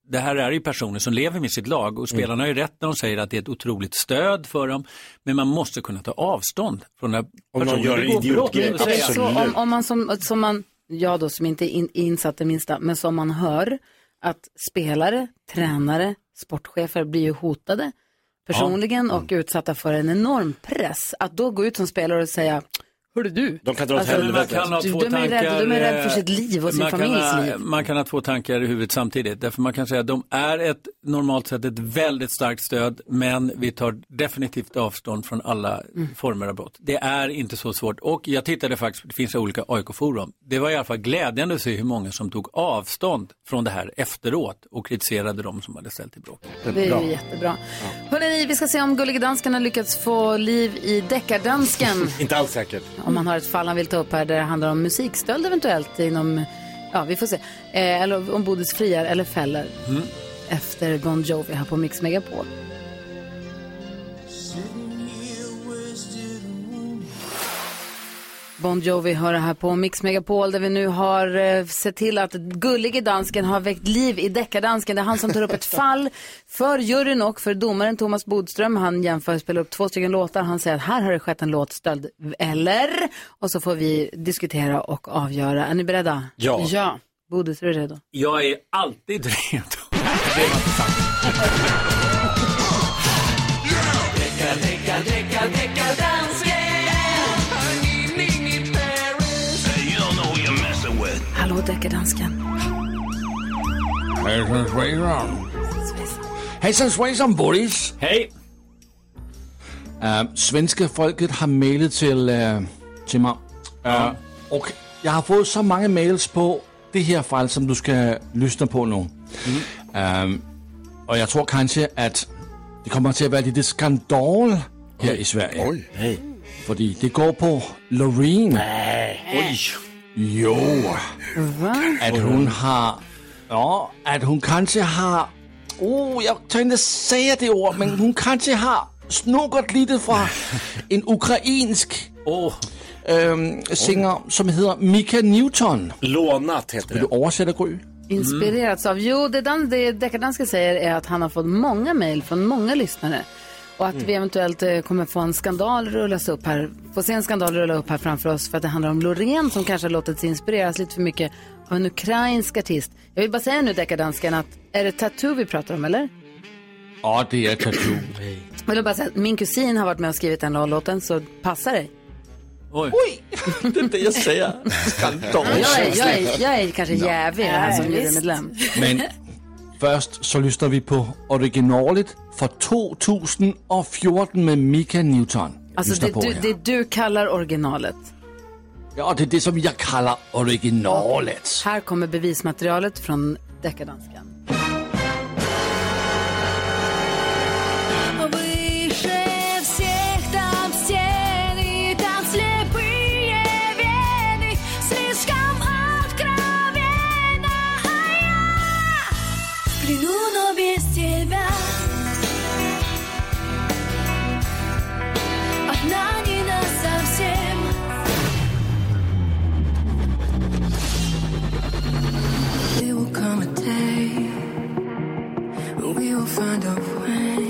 Speaker 14: det här är ju personer som lever med sitt lag och spelarna har ju rätt när de säger att det är ett otroligt stöd för dem, men man måste kunna ta avstånd från när
Speaker 6: någon
Speaker 14: personer
Speaker 6: gör
Speaker 14: begår brott.
Speaker 6: idiotgrejer,
Speaker 14: och säga-
Speaker 1: Så om, om man som, som man, jag då som inte är in, insatt det minsta, men som man hör att spelare, tränare, sportchefer blir ju hotade personligen och utsatta för en enorm press. Att då gå ut som spelare och säga Hörru du. alltså,
Speaker 6: De kan
Speaker 1: dra åt helvete.
Speaker 14: Man kan ha
Speaker 1: Du,
Speaker 14: två
Speaker 1: de är rädda-
Speaker 14: tankar,
Speaker 1: de är rädda för
Speaker 14: eh,
Speaker 1: sitt liv och sin
Speaker 14: man kan
Speaker 1: familjs
Speaker 14: ha,
Speaker 1: liv.
Speaker 14: Man kan ha två tankar i huvudet samtidigt. Därför man kan säga att de är ett, normalt sett ett väldigt starkt stöd, men vi tar definitivt avstånd från alla
Speaker 1: Mm.
Speaker 14: former av brott. Det är inte så svårt. Och jag tittade faktiskt, det finns olika AIK-forum. Det var i alla fall glädjande att se hur många som tog avstånd från det här efteråt och kritiserade de som hade ställt till bråk.
Speaker 1: Det är ju jättebra. Hörrni, vi ska se om Gullige Dansken har lyckats få liv i deckardansken.
Speaker 6: Inte alls säkert.
Speaker 1: om han har ett fall han vill ta upp här där det handlar om musikstöld eventuellt inom, ja vi får se, eh, eller om Bodis friar eller fäller
Speaker 7: Mm.
Speaker 1: efter Bon Jovi här på Mix Megapol. Bon Jovi hör det här på Mix Megapol där vi nu har eh, sett till att gullige dansken har väckt liv i deckardansken. Det är han som tar upp ett fall för juryn och för domaren Thomas Bodström. Han jämför och spelar upp två stycken låtar. Han säger att här har det skett en låtstöld, eller? Och så får vi diskutera och avgöra. Är ni beredda?
Speaker 14: Ja.
Speaker 1: Ja. Bodis, är du redo?
Speaker 14: Jag är alltid <laughs> redo.
Speaker 1: Hallå deckardansken.
Speaker 15: Hejsan svejsan. Hejsan svejsan Boris.
Speaker 14: Hej.
Speaker 5: Uh, svenska folket har mailet till, øh, till mig. Øh, och jag har fått så många mails på det här fall, som du ska lyssna på nu. Øhm, och jag tror kanske att det kommer till att vara lite skandal här i Sverige. Oj. Fordi det går på Loreen.
Speaker 14: Oj.
Speaker 5: Jo.
Speaker 1: Mm.
Speaker 5: At hun har... Ja, at hun kanskje har... Uh, jeg tør säga det ord, men hun kanskje har snukket lite fra en ukrainsk
Speaker 14: oh.
Speaker 5: singer, som heter Mika Newton.
Speaker 6: Lånat heter det.
Speaker 5: Vil du oversætte, Gry?
Speaker 1: Inspirerats av, jo det, dan, det deckardansken säger är att han har fått många mejl från många lyssnare. Och
Speaker 5: Mm.
Speaker 1: att vi eventuellt eh, kommer få en skandal rullas upp här, få se en skandal rulla upp här framför oss för att det handlar om Loreen som kanske har låtit sig inspireras lite för mycket av en ukrainsk artist. Jag vill bara säga nu deckardansken att, är det Tattoo vi pratar om eller?
Speaker 5: Åh, det er tattoo.
Speaker 1: Jag vill bara säga att min kusin har varit med och skrivit den här låten så passa dig.
Speaker 14: Oj.
Speaker 5: det er det, jeg siger. Skandal.
Speaker 1: Jag är, jag är, jag är kanske jävig här som
Speaker 7: visst.
Speaker 1: jurymedlem.
Speaker 5: Men først så lyster vi på originalet fra 2014 med Mika Newton.
Speaker 1: Alltså
Speaker 5: Lyssna
Speaker 1: det
Speaker 5: på
Speaker 1: du,
Speaker 5: her.
Speaker 1: det du kallar originalet.
Speaker 5: Ja, og det er det, som jeg kalder originalet.
Speaker 1: Här kommer bevismaterialet från deckardansken.
Speaker 7: Выше всех там стены, там слепые вены, слишком откровенно, а я кляну, но без тебя. Одна не на совсем.
Speaker 11: There will come a day we will find a way.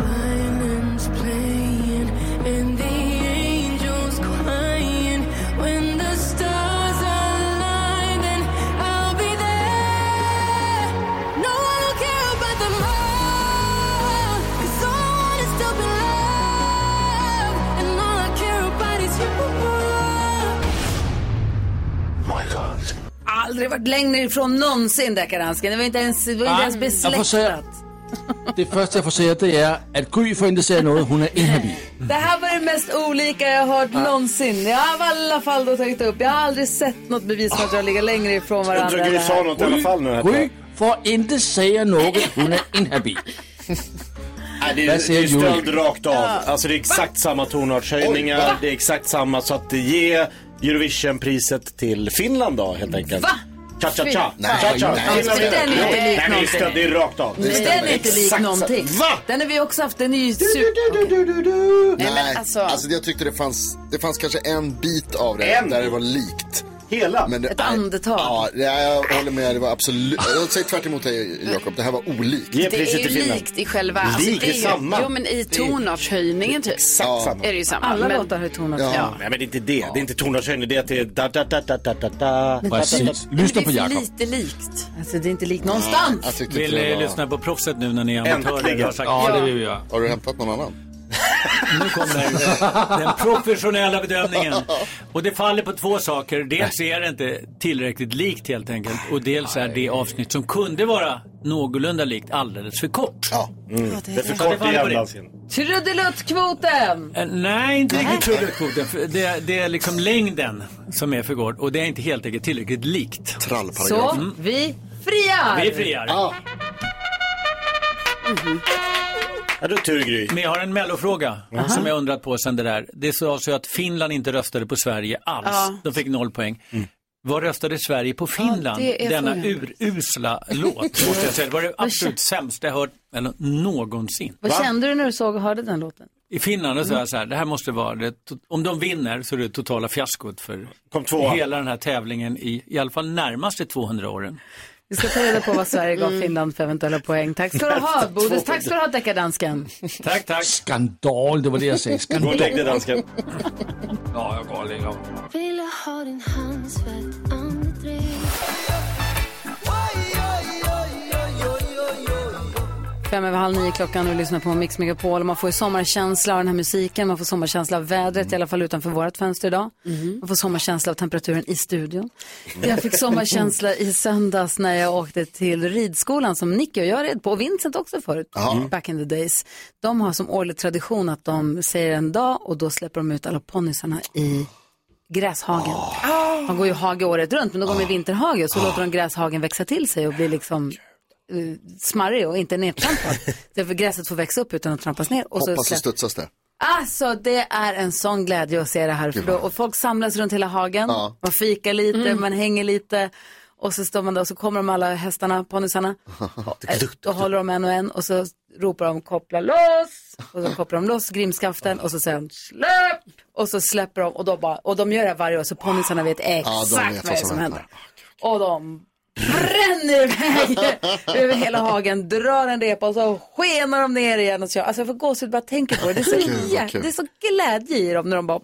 Speaker 11: Violins playing and the angels crying. When the stars align, then I'll be there. No one will care about the all, 'cause all I want is to be loved, and all I care about is you.
Speaker 1: Oh Aldrig varit längre ifrån någonsin deckardansken. Det var inte ens, det var inte
Speaker 5: Ah,
Speaker 1: ens
Speaker 5: jag får säga-
Speaker 1: besläktat.
Speaker 5: Det første, jeg får sige, det er, at Gry får ikke sige noget, hun er inhabil.
Speaker 1: Det här var det mest olika jag har hört någonsin. Jag har i alla fall då tagit upp. Jag har aldrig sett något bevis för att jag ligger längre ifrån varandra.
Speaker 6: tror Gry
Speaker 1: än det här.
Speaker 6: sa något i alla fall nu. här.
Speaker 5: Gry får ikke sige noget, hun er inhabil.
Speaker 6: Nej, Äh, det,
Speaker 5: Där
Speaker 6: är,
Speaker 5: ser
Speaker 6: det är
Speaker 5: Joel.
Speaker 6: stöld rakt av.
Speaker 5: Ja.
Speaker 6: Alltså det är exakt samma tonartshöjningar,
Speaker 5: Oj, va?
Speaker 6: det är exakt samma. Så att ge Eurovisionpriset till Finland då helt enkelt.
Speaker 1: Va?
Speaker 6: Cha-cha-cha.
Speaker 1: Nej,
Speaker 6: Cha-cha.
Speaker 1: nej, nej.
Speaker 6: Finland
Speaker 1: Den är
Speaker 6: vinner.
Speaker 1: inte lik
Speaker 6: Nej, men det är
Speaker 1: någonting.
Speaker 6: stöld, det är rakt av.
Speaker 1: Men den är inte lik
Speaker 6: Exakt.
Speaker 1: någonting. Den har vi också haft. Den är ju super...
Speaker 3: Nej,
Speaker 1: men
Speaker 3: alltså... jag tyckte det fanns, det fanns kanske en bit av det
Speaker 1: En?
Speaker 3: där det var likt.
Speaker 6: Hela?
Speaker 3: Men det,
Speaker 1: Ett
Speaker 3: nej,
Speaker 1: andetag.
Speaker 3: Ja, det- jag håller med. Det var absolut... Jag säger tvärt emot dig, Jakob. Det här var olikt.
Speaker 4: det är ju likt i själva... alltså,
Speaker 3: Likt?
Speaker 4: det är
Speaker 3: Det
Speaker 4: ju,
Speaker 3: är samma.
Speaker 4: Jo, men i tonartshöjningen typ.
Speaker 6: Exakt samma.
Speaker 4: Är det ju samma.
Speaker 1: Alla
Speaker 4: men,
Speaker 1: låtar har ju
Speaker 6: Ja.
Speaker 1: tonartshöjning.
Speaker 6: Nej men det är inte det. Det är inte tonartshöjning, det är att det är da da da da da da da.
Speaker 14: Precis. Lyssna på Jakob.
Speaker 1: lite likt. Alltså det är inte likt någonstans.
Speaker 3: Alltså-
Speaker 14: Vill ni lyssna på proffset nu när ni är
Speaker 6: Äntligen.
Speaker 14: amatörer?
Speaker 6: Ja, det
Speaker 3: Har du hämtat någon annan?
Speaker 14: Nu kom den, den professionella bedömningen. Och det faller på två saker. Dels är det inte tillräckligt likt helt enkelt. Och dels är det avsnitt som kunde vara någorlunda likt alldeles för kort. Ja,
Speaker 1: det är Det är för sant.
Speaker 14: faller
Speaker 1: kort
Speaker 14: på det.
Speaker 6: jämnansin.
Speaker 1: Trudeluttkvoten!
Speaker 14: Eh, Nej, inte riktigt trudeluttkvoten. För Det, det är liksom längden som är för kort. Och det är inte helt enkelt tillräckligt likt.
Speaker 1: Så, vi friar!
Speaker 14: Vi friar. Ja, du tur Gry. Men jag har en mellofråga
Speaker 1: Jaha.
Speaker 14: som jag undrat på sen det där. Det sades ju att Finland inte röstade på Sverige alls.
Speaker 4: Ja.
Speaker 14: De fick noll poäng. Vad röstade Sverige på Finland?
Speaker 4: det är
Speaker 14: Denna
Speaker 4: frågan.
Speaker 14: urusla
Speaker 4: <laughs>
Speaker 14: låt, måste jag säga. Det var det absolut sämsta jag hört eller, någonsin.
Speaker 1: Vad kände du när du såg och hörde den låten?
Speaker 14: I Finland och så här, så här, det här måste vara det, to- om de vinner så är det totala fiaskot för
Speaker 6: Kom tvåa.
Speaker 14: hela den här tävlingen i, i alla fall närmaste 200 åren.
Speaker 1: Vi ska ta reda på vad Sverige gav Finland för eventuella poäng. Tack ska du ha, Bodis. Tack ska du ha, deckardansken.
Speaker 14: Tack, tack.
Speaker 15: Skandal, det var det jag sa. Skandal.
Speaker 6: Gå och lägg dig, dansken.
Speaker 15: Ja, jag går och lägger mig.
Speaker 7: Ville ha din handsvett, andedräkt
Speaker 1: Fem över halv nio klockan och lyssnar på Mix Megapol. Och man får ju sommarkänsla av den här musiken, man får sommarkänsla av vädret, i alla fall utanför vårt fönster idag. Man får sommarkänsla av temperaturen i studion. Jag fick sommarkänsla i söndags när jag åkte till ridskolan som Nicky och jag red på, och Vincent också förut, Mm. back in the days. De har som årlig tradition att de säger en dag och då släpper de ut alla ponnysarna i gräshagen. De går ju hage året runt, men då går de i vinterhage och så låter de gräshagen växa till sig och bli liksom eh, smarrig och inte nedtrampad. Därför gräset får växa upp utan att trampas ner. Och så
Speaker 3: Hoppas så
Speaker 1: släpp...
Speaker 3: studsas det.
Speaker 1: Alltså det är en sån glädje att se det här. För då, och folk samlas runt hela hagen,
Speaker 3: Ja.
Speaker 1: man fikar lite, man hänger lite. Och så står man där och så kommer de alla hästarna, <laughs> ponnysarna. Eh, Då håller de en och en och så ropar de koppla loss. Och så kopplar de loss grimskaften och så säger de släpp. Och så släpper de och, då bara, och de gör det här varje år så ponnysarna vet
Speaker 3: Ja,
Speaker 1: exakt
Speaker 3: de vet
Speaker 1: vad det
Speaker 3: vad
Speaker 1: är som
Speaker 3: som
Speaker 1: händer.
Speaker 3: händer.
Speaker 1: Och de bränner
Speaker 7: <laughs>
Speaker 1: iväg över hela hagen, drar en repa och så skenar de ner igen. Och så, alltså jag får gåshud bara tänka på det. Det är, så
Speaker 7: Gud, vad
Speaker 1: jä-
Speaker 7: kul.
Speaker 1: det är så glädje i dem när de bara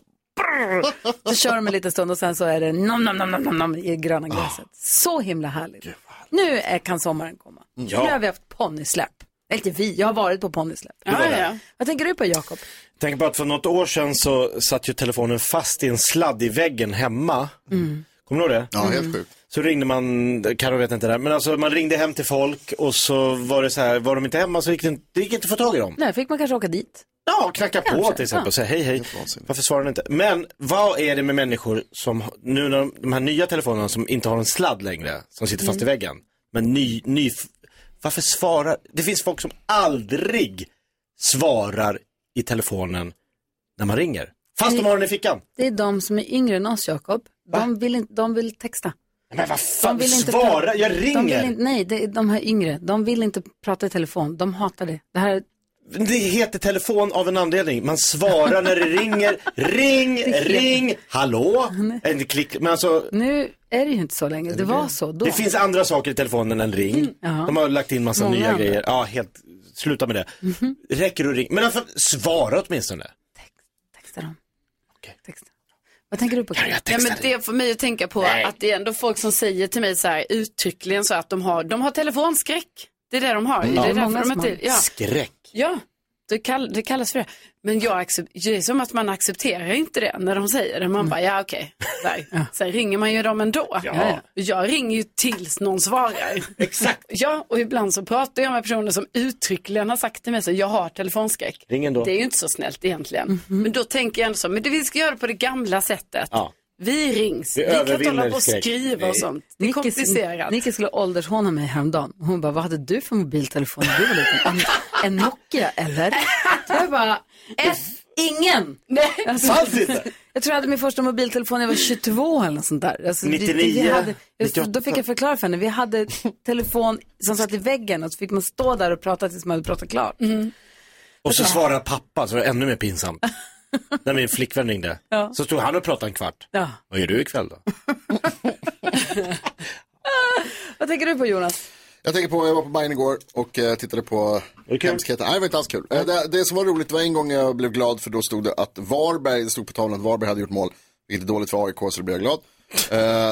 Speaker 1: så kör de en liten stund och sen så är det nom, nom, nom, nom, nom, nom i
Speaker 7: Ah.
Speaker 1: gröna gräset. Så himla härligt. Nu är, kan sommaren komma.
Speaker 6: Ja.
Speaker 1: Nu har vi haft ponnysläpp. Eller inte vi, jag har varit på ponnysläpp.
Speaker 6: var där.
Speaker 1: Vad tänker du på Jakob?
Speaker 6: Tänk på att för något år sedan så satt ju telefonen fast i en sladd i väggen hemma. Kommer du ihåg det?
Speaker 3: Ja, helt Mm. sjukt.
Speaker 6: Så ringde man, Karo vet inte det här, men alltså man ringde hem till folk och så var det så här, var de inte hemma så gick det, inte- det gick inte att få tag i dem.
Speaker 1: Nej, fick man kanske åka dit?
Speaker 6: Ja, knacka på till exempel och säga hej hej. Varför svarar ni inte? Men vad är det med människor som, nu när de, de här nya telefonerna som inte har en sladd längre, som sitter fast
Speaker 1: Mm.
Speaker 6: i väggen. Men ny, ny, varför svarar, det finns folk som aldrig svarar i telefonen när man ringer. Fast de har den i fickan.
Speaker 1: Det är de som är yngre än oss Jakob. De vill, inte, de vill texta.
Speaker 6: Men vad fan,
Speaker 1: De vill inte
Speaker 6: svara,
Speaker 1: prata-
Speaker 6: jag
Speaker 1: De
Speaker 6: ringer.
Speaker 1: vill inte, nej, det, är de här yngre, de vill inte prata i telefon. De hatar det. Det här är
Speaker 6: Det heter telefon av en anledning. Man svarar när det
Speaker 1: <laughs>
Speaker 6: ringer. Ring,
Speaker 1: Det är helt-
Speaker 6: ring, hallå. En klick, men alltså.
Speaker 1: Nu är det ju inte så länge. Det var så då. Mm,
Speaker 6: Det finns andra saker i telefonen än ring.
Speaker 1: ja.
Speaker 6: De har lagt in massa
Speaker 1: Många
Speaker 6: nya
Speaker 1: andra. Mhm.
Speaker 6: grejer. Ja, helt, sluta med det. Räcker du ring? Men alltså, svara åtminstone.
Speaker 1: Vad tänker du på? Kan
Speaker 4: Ja, men det får mig att tänka på
Speaker 6: Nej.
Speaker 4: att det är ändå folk som säger till mig så här uttryckligen så att de har, de har telefonskräck. Det är det de har. Det är därför de inte, ja.
Speaker 6: Skräck.
Speaker 4: Ja, det, kall, det kallas för det. Men jag accep- det är som att man accepterar inte det när de säger det. Man bara, ja okej. Okay. Sen ringer man ju dem ändå.
Speaker 7: Ja.
Speaker 4: Jag ringer ju tills någon svarar.
Speaker 6: Exakt.
Speaker 4: Ja, och ibland så pratar jag med personer som uttryckligen har sagt till mig så jag har telefonskräck.
Speaker 6: Ring ändå.
Speaker 4: Det är ju inte så snällt egentligen. Men då tänker jag ändå så, men det, vi ska göra det på det gamla sättet.
Speaker 6: Ja.
Speaker 4: Vi rings.
Speaker 6: Vi
Speaker 4: Vi, kan inte
Speaker 6: övervinner
Speaker 4: hålla på och
Speaker 6: skräck.
Speaker 4: skriva och
Speaker 6: Nej.
Speaker 4: sånt. Det är
Speaker 1: Nicky-
Speaker 4: komplicerat.
Speaker 1: Nicky skulle åldershåna mig häromdagen. Hon bara, vad hade du för mobiltelefon när du var liten? En, en Nokia eller? Så jag bara, F, ingen.
Speaker 4: Nej,
Speaker 7: fanns inte.
Speaker 1: Jag tror jag hade min första mobiltelefon när jag var 22 eller något sånt där. Alltså, vi-
Speaker 7: 99,
Speaker 1: hade, just, då
Speaker 7: 98.
Speaker 1: fick jag förklara för henne. Vi hade telefon som satt i väggen och så fick man stå där och prata tills man hade pratat klart.
Speaker 4: Mm.
Speaker 1: <laughs>
Speaker 6: Och så svarar pappa, så var det ännu mer pinsamt. när min flickvän ringde.
Speaker 1: Ja.
Speaker 6: Så stod han och pratade en kvart.
Speaker 1: Ja.
Speaker 6: Vad gör du ikväll då?
Speaker 1: Vad tänker du på Jonas?
Speaker 3: Jag tänker på, jag var på Bajen igår och eh, tittade på hemskheter. Nej, det var inte alls kul. Eh, Det, det som var roligt var en gång jag blev glad för då stod det att Varberg, det stod på tavlan att Varberg hade gjort mål. Vilket är dåligt för AIK så det blev jag glad.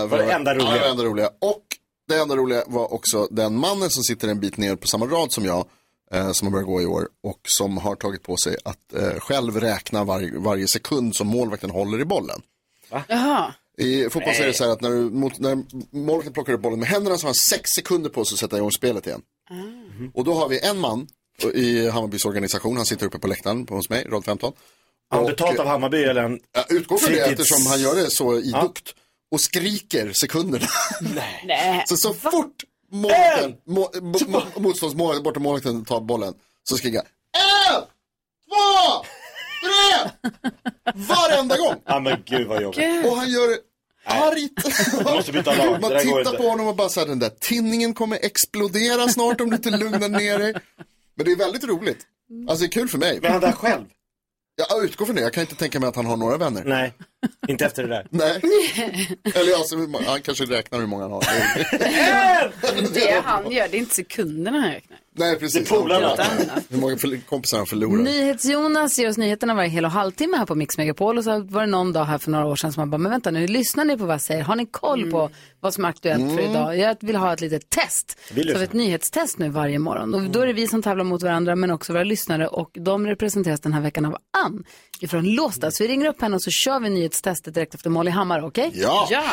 Speaker 3: Eh,
Speaker 6: Var det enda
Speaker 3: Ja, det
Speaker 6: roliga?
Speaker 3: var enda roliga. Och det enda roliga var också den mannen som sitter en bit ner på samma rad som jag eh, som har börjat gå i år och som har tagit på sig att eh, själv räkna var, varje sekund som målvakten håller i bollen.
Speaker 4: Jaha.
Speaker 3: I fotboll så är det så här att när, du, mot, när målvakten plockar upp bollen med händerna så har han sex sekunder på sig att sätta igång spelet igen. Och då har vi en man i Hammarbys organisation, han sitter uppe på läktaren på- hos mig, roll 15.
Speaker 6: Har han
Speaker 3: Och-
Speaker 6: betalt av Hammarby eller en
Speaker 3: Utgår från det
Speaker 6: fritids-
Speaker 3: eftersom han gör det så idogt. Och skriker sekunderna.
Speaker 4: Nej.
Speaker 3: Så, så fort målvakten, må, mo, mo, <laughs> motståndsmålet, bortom målvakten tar bollen, så skriker han. En, två, tre! Varenda gång!
Speaker 6: Ja men gud vad jobbigt.
Speaker 3: Och han gör det argt. <laughs>
Speaker 6: måste byta lag, det
Speaker 3: Man
Speaker 6: där
Speaker 3: tittar
Speaker 6: går inte.
Speaker 3: på honom och bara så här, den där tinningen kommer explodera snart om du inte lugnar ner dig. Men det är väldigt roligt. Alltså det är kul för mig.
Speaker 6: Men han där själv?
Speaker 3: Jag utgår från det, jag kan inte tänka mig att han har några vänner.
Speaker 6: Nej, inte efter det där.
Speaker 2: <laughs>
Speaker 3: Nej. Eller alltså, han kanske räknar hur många han har.
Speaker 4: Det är han gör, det är inte sekunderna han räknar.
Speaker 3: <laughs> Nej, precis.
Speaker 4: Det är polarna.
Speaker 3: Hur många förl- kompisar han förlorar.
Speaker 1: NyhetsJonas ger oss nyheterna varje hel och halvtimme här på Mix Megapol och så var det någon dag här för några år sedan som man bara, men vänta nu, lyssnar ni på vad jag säger? Har ni koll på vad som är aktuellt för
Speaker 4: Mm.
Speaker 1: idag? Jag vill ha ett litet test,
Speaker 4: Vi lyssnar.
Speaker 1: så ett nyhetstest nu varje morgon. Och då är det vi som tävlar mot varandra men också våra lyssnare och de representeras den här veckan av Ann ifrån Låsta. Så vi ringer upp henne och så kör vi nyhetstestet direkt efter Molly Hammar, okej?
Speaker 11: Ja.
Speaker 4: ja!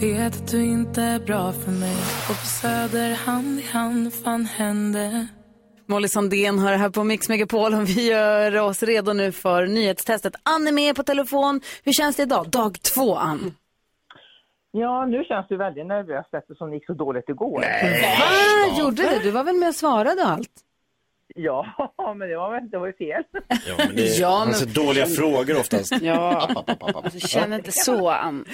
Speaker 11: Vet att du inte är bra för mig Och på Söder hand i hand fan hände
Speaker 1: Molly Sandén hör här på Mix Megapol och vi gör oss redo nu för nyhetstestet. Ann är med på telefon. Hur känns det idag? Dag två, Ann.
Speaker 16: Ja, nu känns det väldigt nervöst eftersom det gick så dåligt igår.
Speaker 1: Ah, gjorde det? Du var väl med och svarade och allt?
Speaker 16: Ja, <laughs> men det var, väl- det var ju fel. <laughs>
Speaker 6: Men det är,
Speaker 1: Ja,
Speaker 6: alltså,
Speaker 1: men-
Speaker 6: dåliga frågor oftast.
Speaker 4: Ja. Alltså, känn inte så Ann.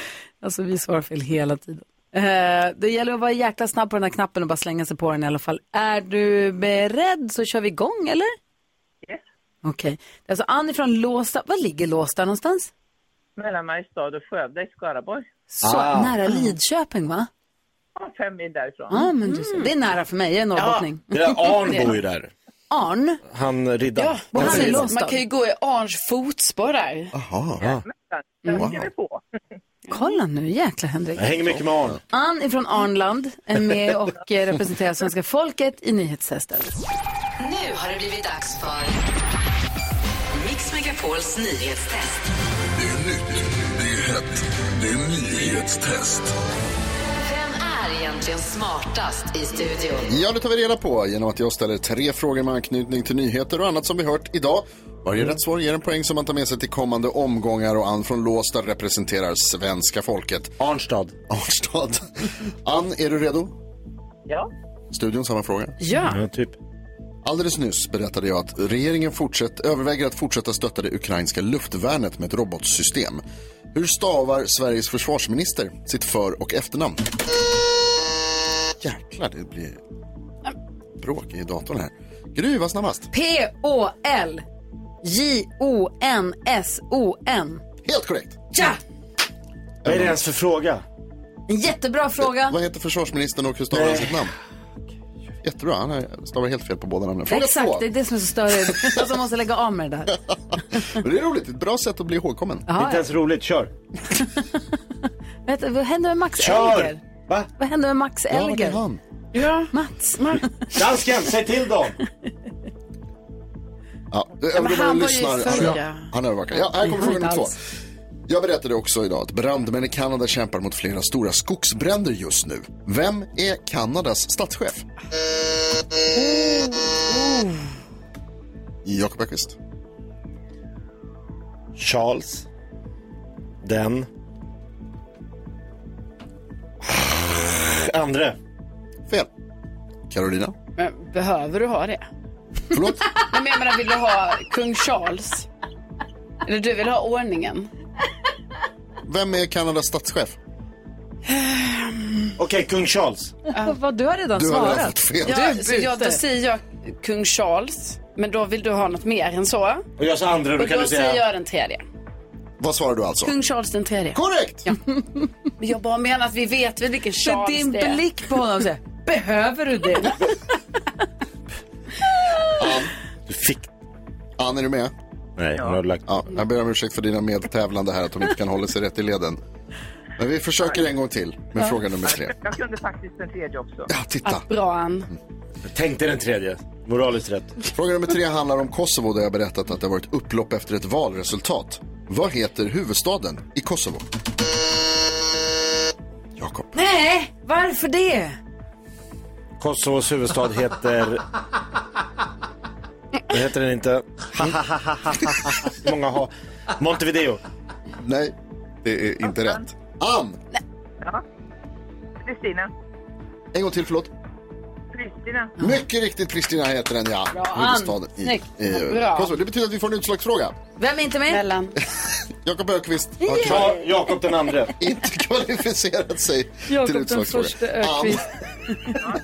Speaker 1: Alltså vi svarar fel hela tiden. Eh, det gäller att vara jäkla snabb på den här knappen och bara slänga sig på den i alla fall. Är du beredd så kör vi igång eller? Okej. Det är Alltså Ann från Låsta. Var ligger Låsta någonstans?
Speaker 16: Mellan Mariestad och Skövde i Skaraborg.
Speaker 1: Så
Speaker 16: Ah.
Speaker 1: nära Lidköping va?
Speaker 16: Ja, fem mil därifrån.
Speaker 1: Ja men du ser.
Speaker 4: Mm.
Speaker 1: Det är nära för mig, jag är norrbottning.
Speaker 6: Det där Arn bor ju där.
Speaker 1: Arn?
Speaker 6: Han riddar.
Speaker 4: Ja,
Speaker 1: Vad
Speaker 4: man,
Speaker 1: säger
Speaker 4: kan-
Speaker 1: Långstad?
Speaker 4: man kan ju gå i Arns fotspår där.
Speaker 6: Jaha.
Speaker 1: Mm.
Speaker 6: Wow.
Speaker 1: Kolla nu, jäkla Henrik.
Speaker 6: Jag hänger mycket med Arn.
Speaker 1: Ann ifrån Arnland är med och eh, representerar svenska folket i nyhetstestet.
Speaker 2: Nu har det blivit dags för Mix Megapols nyhetstest.
Speaker 17: Det är nytt, det är hett, det är nyhetstest.
Speaker 2: Vem är egentligen smartast i studion?
Speaker 3: Ja, det tar vi reda på genom att jag ställer tre frågor med anknytning till nyheter och annat som vi hört idag. Varje rätt svar ger en poäng som man tar med sig till kommande omgångar och Ann från Låsta representerar svenska folket. <laughs>
Speaker 6: Arnstad.
Speaker 3: Arnstad. Ann, är du redo?
Speaker 16: Ja.
Speaker 3: Studion, samma fråga.
Speaker 4: Ja.
Speaker 6: typ.
Speaker 3: Alldeles nyss berättade jag att regeringen fortsätt, överväger att fortsätta stötta det ukrainska luftvärnet med ett robotsystem. Hur stavar Sveriges försvarsminister sitt för och efternamn? Jäklar, det blir bråk i datorn här. Gry, vad snabbast?
Speaker 1: P-O-L-J-O-N-S-O-N.
Speaker 3: Helt korrekt.
Speaker 1: Ja!
Speaker 6: Vad är det ens för fråga?
Speaker 1: En jättebra fråga.
Speaker 3: Vad heter försvarsministern och hur stavar han sitt namn? Jättebra, han har- stavar helt fel på båda namnen. Fråga
Speaker 1: Exakt,
Speaker 3: två.
Speaker 1: det är det som är så störigt. Alltså måste lägga av med det där.
Speaker 3: Men Det är roligt, ett bra sätt att bli ihågkommen.
Speaker 1: Jaha, Inte ens
Speaker 6: roligt, kör.
Speaker 1: Vet, du, vad händer med Max
Speaker 6: Kör!
Speaker 1: Elger?
Speaker 6: Va?
Speaker 1: Vad händer med Max
Speaker 6: Ja, vart är
Speaker 1: Elger?
Speaker 6: han?
Speaker 1: Ja, Mats.
Speaker 6: Dansken, säg till dem!
Speaker 3: Ja, det
Speaker 6: Ja, men
Speaker 3: övergår
Speaker 6: han
Speaker 3: man
Speaker 6: var
Speaker 3: lyssnar.
Speaker 6: ju förra.
Speaker 3: Han- Han övervakar. Ja, här kommer
Speaker 6: Inte
Speaker 3: fråga nummer två.
Speaker 6: alls.
Speaker 3: Jag berättade också idag att brandmän i Kanada kämpar mot flera stora skogsbränder just nu. Vem är Kanadas statschef?
Speaker 4: Oh,
Speaker 3: Jakob Öqvist.
Speaker 6: Charles. Den. Andre.
Speaker 3: Fel. Carolina.
Speaker 4: Men behöver du ha det? <laughs>
Speaker 3: Förlåt?
Speaker 4: Nej, men jag menar, vill du ha kung Charles? Eller du vill ha ordningen?
Speaker 3: Vem är Kanadas statschef?
Speaker 6: Okej, kung Charles.
Speaker 1: Vad du har redan
Speaker 6: Du har redan
Speaker 1: svarat.
Speaker 6: fått fel.
Speaker 4: Ja,
Speaker 6: Du
Speaker 4: så jag, då
Speaker 6: byter.
Speaker 4: säger jag kung Charles, men då vill du ha något mer än så.
Speaker 6: Och jag sa andra, då
Speaker 4: Och
Speaker 6: kan
Speaker 4: då
Speaker 6: du säga...
Speaker 4: säger jag den tredje.
Speaker 3: Vad svarar du alltså?
Speaker 4: Kung Charles den tredje.
Speaker 3: Korrekt!
Speaker 4: Ja. Men jag bara menar att vi vet väl vilken Charles
Speaker 1: din
Speaker 4: det är.
Speaker 1: blick på honom säger, behöver du det?
Speaker 6: Du fick...
Speaker 3: Ann, är du med?
Speaker 6: Nej, hon har lagt...
Speaker 3: Ja, jag ber om ursäkt för dina medtävlande här, att de inte kan hålla sig rätt i leden. Men vi försöker en gång till med
Speaker 16: Ja.
Speaker 3: fråga nummer tre.
Speaker 16: Jag kunde faktiskt den tredje också.
Speaker 3: Ja, titta.
Speaker 4: Bra Ann.
Speaker 3: Jag tänkte den tredje. Moraliskt rätt. Fråga nummer tre handlar om Kosovo där jag berättat att det har varit upplopp efter ett valresultat. Vad heter huvudstaden i Kosovo?
Speaker 1: Nej, varför det?
Speaker 6: Kosovos
Speaker 4: <laughs>
Speaker 6: huvudstad heter... Det heter den inte. Många har. Montevideo.
Speaker 3: Nej, det är inte rätt. Ann!
Speaker 16: Kristina.
Speaker 3: En gång till, förlåt.
Speaker 16: Kristina.
Speaker 3: Mycket riktigt, Pristina heter den, ja.
Speaker 1: Bra, Ann.
Speaker 3: Huvudstaden i,
Speaker 1: Snyggt.
Speaker 3: i
Speaker 1: Bra.
Speaker 3: Kosovo. Det betyder att vi får en utslagsfråga.
Speaker 1: Vem är inte med? Mellan.
Speaker 3: Jakob Ökvist
Speaker 1: Ja, <laughs>
Speaker 3: kvar-
Speaker 6: Jakob den andra.
Speaker 3: inte kvalificerat sig
Speaker 1: Jakob
Speaker 3: till
Speaker 1: den
Speaker 3: utslagsfråga.
Speaker 1: första Ökvist.
Speaker 3: Ja.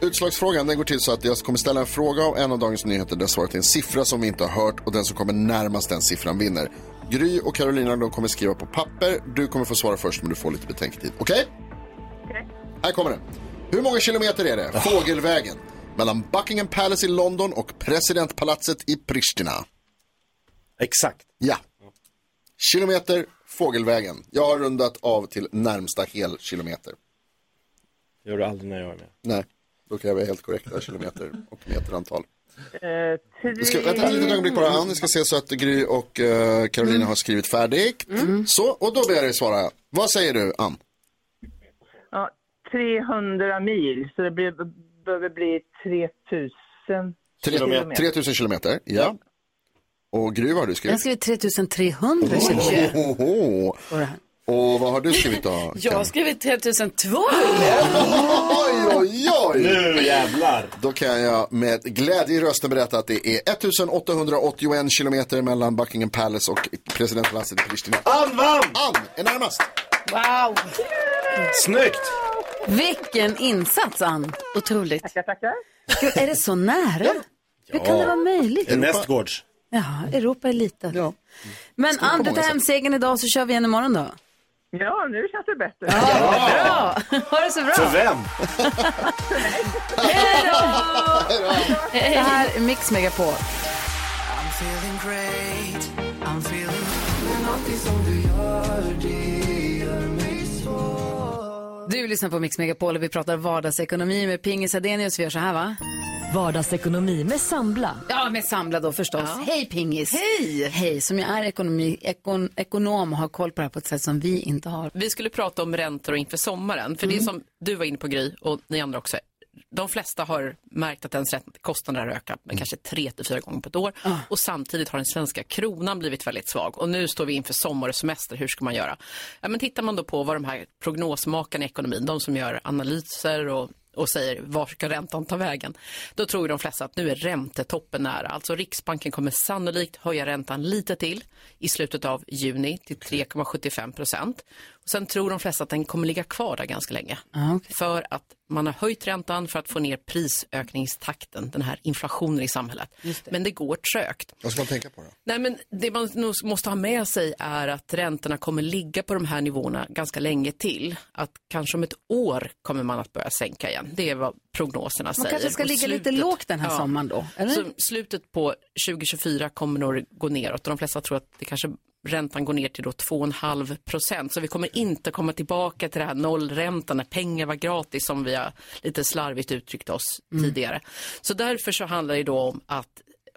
Speaker 3: Utslagsfrågan den går till så att jag kommer ställa en fråga om en av Dagens Nyheter där svaret är en siffra som vi inte har hört och den som kommer närmast den siffran vinner. Gry och Carolina de kommer skriva på papper. Du kommer få svara först men du får lite betänketid. Okej? Här kommer den. Hur många kilometer är det, fågelvägen, mellan Buckingham Palace i London och presidentpalatset i Pristina?
Speaker 6: Exakt.
Speaker 3: Ja. Kilometer, fågelvägen. Jag har rundat av till närmsta helkilometer.
Speaker 6: Det gör du aldrig när jag är med.
Speaker 3: Nej, då kräver jag helt korrekta kilometer och meterantal.
Speaker 16: Eh,
Speaker 3: Vi ska, vänta ett litet ögonblick bara, Ann. Vi ska se så att Gry och eh, Carolina har skrivit färdigt. Så, och då ber jag dig svara. Vad säger du, Ann?
Speaker 16: Ja, 300 mil, så det blir, behöver bli 3000
Speaker 3: Tre- 3000 kilometer. Ja. Och Gry, vad har du
Speaker 1: Jag har
Speaker 3: skrivit?
Speaker 1: skrivit 3300 kilometer.
Speaker 3: Ohoho. Och vad har du skrivit då?
Speaker 4: Jag har skrivit 3200.
Speaker 3: Oj, oj, oj!
Speaker 6: Nu jävlar!
Speaker 3: Då kan jag med glädje i rösten berätta att det är 1881 kilometer mellan Buckingham Palace och presidentpalatset i Pristina.
Speaker 6: Ann vann!
Speaker 3: Ann är närmast.
Speaker 1: Wow!
Speaker 6: Snyggt!
Speaker 1: Vilken insats, Ann. Otroligt. Tackar,
Speaker 16: tackar.
Speaker 1: Gud, är det så nära? Hur kan det vara möjligt?
Speaker 6: Nästgårds.
Speaker 1: Ja, Europa är litet. Men
Speaker 16: Stort på
Speaker 1: Ann, du
Speaker 16: många
Speaker 1: tar hem segern idag så kör vi igen imorgon då.
Speaker 16: Ja, nu känns det bättre.
Speaker 1: Ja! Bra! Ha det så bra!
Speaker 6: För vem?
Speaker 1: Hej då! Det här är Mix Megapol.
Speaker 11: I'm feeling great. I'm feeling...
Speaker 1: Du lyssnar på Mix Megapol och vi pratar vardagsekonomi med Pingis Adenius. Vi gör så här, va? Vardagsekonomi med Sambla. Ja, med Sambla då förstås.
Speaker 11: Ja.
Speaker 1: Hej Pingis! Hej! Hej, som jag är ekonomi, ekon, ekonom och har koll på det här på ett sätt som vi inte har.
Speaker 18: Vi skulle prata om räntor och inför sommaren. För det är som du var inne på Gry och ni andra också. De flesta har märkt att ens ränt- kostnader har ökat med kanske tre till fyra gånger på ett år. Och samtidigt har den svenska kronan blivit väldigt svag. Och nu står vi inför sommar och semester. Hur ska man göra? Ja, men tittar man då på vad de här prognosmakarna i ekonomin, de som gör analyser och och säger var ska räntan ta vägen? Då tror ju de flesta att nu är räntetoppen nära. Alltså Riksbanken kommer sannolikt höja räntan lite till i slutet av juni till 3,75 procent. Och Sen tror de flesta att den kommer ligga kvar där ganska länge. För att man har höjt räntan för att få ner prisökningstakten, den här inflationen i samhället. Men det går trögt.
Speaker 3: Vad ska man tänka på då?
Speaker 18: Nej, men det man nog måste ha med sig är att räntorna kommer ligga på de här nivåerna ganska länge till. Att kanske om ett år kommer man att börja sänka igen. Det är vad prognoserna
Speaker 1: Man
Speaker 18: säger.
Speaker 1: kanske ska
Speaker 18: Och
Speaker 1: ligga lite
Speaker 18: slutet-
Speaker 1: lågt den här sommaren då, eller?
Speaker 19: Mm.
Speaker 18: Så slutet på 2024 kommer nog gå neråt och de flesta tror att det kanske räntan går ner till då 2,5 procent. Så vi kommer inte komma tillbaka till det här nollräntan när pengar var gratis som vi har lite slarvigt uttryckt oss
Speaker 19: Mm.
Speaker 18: tidigare. Så därför så handlar det då om att